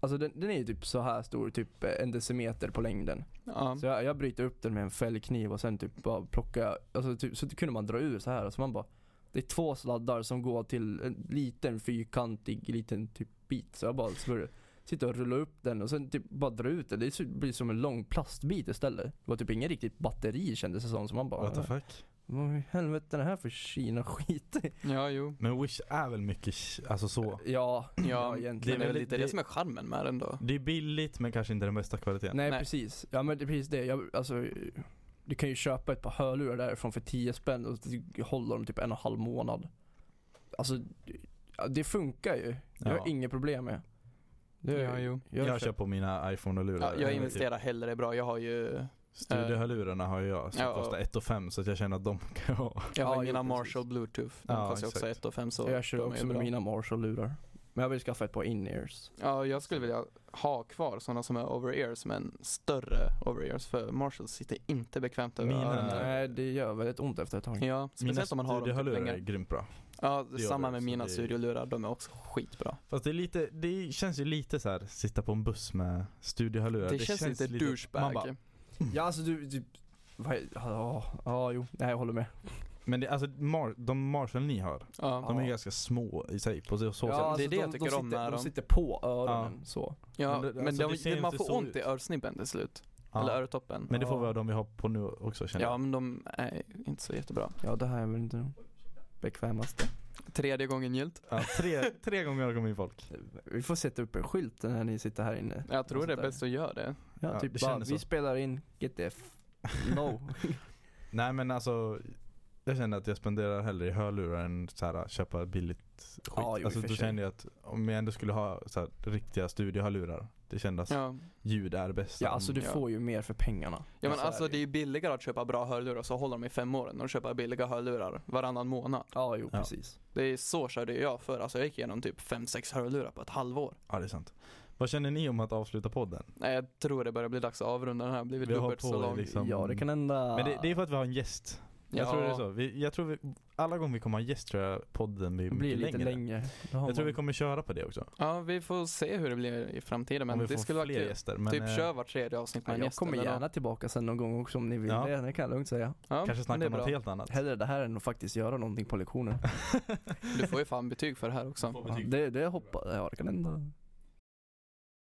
S3: alltså den, den är ju typ så här stor, typ eh, en decimeter på längden.
S1: Ja.
S3: Så jag, jag bryter upp den med en fällkniv och sen typ bara plocka, alltså typ, så kunde man dra ur så här och så man bara Det är två sladdar som går till en liten fyrkantig liten typ bit så jag bara smörjer Sitter och rullar upp den och sen typ bara dra ut den. Det ser- blir som en lång plastbit istället. Det var typ ingen riktigt batteri kändes det som. Så man
S2: What the
S3: bara
S2: fuck?
S3: Vad i helvete är det här för Kina-skit?
S1: ja, jo.
S2: Men Wish är väl mycket, sh- alltså så.
S3: ja,
S1: Ja, det är
S3: egentligen.
S1: väl
S2: det-
S1: lite
S2: det-
S1: det som är charmen med den då.
S2: Det är billigt men kanske inte den bästa kvaliteten.
S3: Nej,
S1: Nej.
S3: precis. Ja men det är precis det. Jag, alltså, du kan ju köpa ett par hörlurar därifrån för 10 spänn och det håller dem typ en och en halv månad. Alltså ja, det funkar ju. Det har
S2: Ja.
S3: jag inget problem med. Det-
S1: Ja, jo.
S2: Jag,
S3: köp-
S2: kör på mina iPhone-lurar.
S1: Ja, jag investerar hellre bra, jag har ju
S2: Studiohörlurarna Typ har ju jag som
S1: Ja.
S2: kostar 1 5 så att jag känner att de kan jag ha.
S1: Jag har
S3: Ja, jo,
S1: mina
S3: precis.
S1: Marshall bluetooth, de
S2: Ja,
S1: kostar ju också
S2: exakt.
S1: 1 5 så
S3: jag kör
S1: de är
S3: också
S1: ju
S3: med
S1: bra.
S3: mina Marshall-lurar. Men jag vill skaffa ett par in-ears.
S1: Ja, jag skulle vilja ha kvar sådana som är over-ears men större over-ears för Marshalls sitter inte bekvämt över
S2: Mina-
S1: öronen.
S3: Nej det gör väldigt ont efter ett tag.
S1: Ja,
S2: Mina
S1: speciellt om man har dem typ
S2: studiehörlurar är
S1: länge.
S2: grymt bra.
S1: Ja,
S2: det gör
S1: samma
S2: det,
S1: med
S2: så
S1: mina
S2: det är-
S1: studiolurar, de är också skitbra.
S2: Fast det, är lite, det känns ju lite så här sitta på en buss med
S1: Det,
S2: studiehörlurar.
S1: känns, lite
S2: man
S1: douchebag.
S2: bara-
S3: Ja alltså du, typ vad- Ja, ja jo, nej jag håller med.
S2: Men det, alltså, mar, de Marshall ni har,
S1: ja.
S2: de är
S3: Ja.
S2: ganska små i sig på så så
S1: det är
S2: sätt.
S1: det jag tycker
S3: alltså, de
S1: om
S3: sitter,
S1: med
S3: de
S1: dem.
S3: sitter på öronen så.
S1: ja,
S2: men det-
S1: men
S2: alltså,
S1: de,
S2: det ser
S1: man
S2: inte
S1: får
S2: så
S1: ont i
S2: ut.
S1: örsnibben till slut.
S2: Ja.
S1: Eller örtoppen.
S2: Men det får
S3: Ja.
S2: vi ha de vi har på nu också känner
S1: Ja,
S2: jag.
S1: men de är inte så jättebra.
S3: Ja det här är väl inte de bekvämaste.
S1: Tredje gången gyllt.
S2: Ja, tre, tre gånger har det kommit in folk.
S3: Vi får sätta upp en skylt när ni sitter här inne.
S1: Jag
S2: Alltså,
S1: tror det är
S3: Sånt där.
S1: bäst att göra det.
S3: Ja,
S2: Ja,
S3: typ
S2: det
S3: bara,
S2: kändes
S3: vi
S2: så.
S3: spelar in GTF. No.
S2: Nej men alltså, jag känner att jag spenderar hellre i hörlurar än så här, köpa billigt skit.
S3: Ja, jo, i
S2: alltså,
S3: och för
S2: då
S3: sig.
S2: känner jag att om jag ändå skulle ha så här, riktiga studiehörlurar, det kändes
S1: Ja.
S2: ljud är bäst.
S3: ja alltså du
S1: Ja.
S3: får ju mer för pengarna.
S1: Ja men
S3: Så är
S1: alltså det är
S3: ju.
S1: ju billigare att köpa bra hörlurar så håller de i fem år än att köpa billiga hörlurar varannan månad.
S3: Ja jo
S2: Ja.
S3: precis.
S1: Det är så körde jag för Alltså jag gick igenom typ fem sex hörlurar på ett halvår.
S2: Ja det är sant. Vad känner ni om att avsluta podden?
S1: Nej jag tror det börjar bli dags att avrunda den här, har blivit
S2: Vi har
S1: dubbelt så
S2: på
S1: lång.
S2: liksom- Som-
S3: Ja det kan hända.
S2: Men det, det är för att vi har en gäst. Jag
S1: Ja.
S2: tror det är så. Vi, jag tror vi, alla gånger vi kommer ha en gäst tror jag podden blir,
S3: det blir
S2: mycket
S3: lite
S2: längre.
S3: längre. Då har
S2: Jag tror vi
S3: man-
S2: kommer köra på det också.
S1: Ja vi får se hur det blir i framtiden
S2: om
S1: men
S2: vi
S1: det
S2: får
S1: skulle vara
S2: fler
S1: kul.
S2: gäster. Men,
S1: typ
S2: eh,
S1: kör vart tredje avsnitt med
S3: Ja,
S1: en
S3: jag
S1: gäst
S3: kommer
S1: eller
S3: gärna
S1: något.
S3: tillbaka sen någon gång också om ni vill
S2: Ja.
S3: det, det kan jag lugnt säga.
S1: Ja,
S2: Kanske
S1: men det
S2: snacka
S1: är
S2: om något
S1: bra.
S2: helt annat.
S3: Hellre det här än att faktiskt göra någonting på lektionen.
S1: Du får ju fan betyg för det här också.
S2: typ.
S3: Ja, det, det hoppas, ja det kan hända.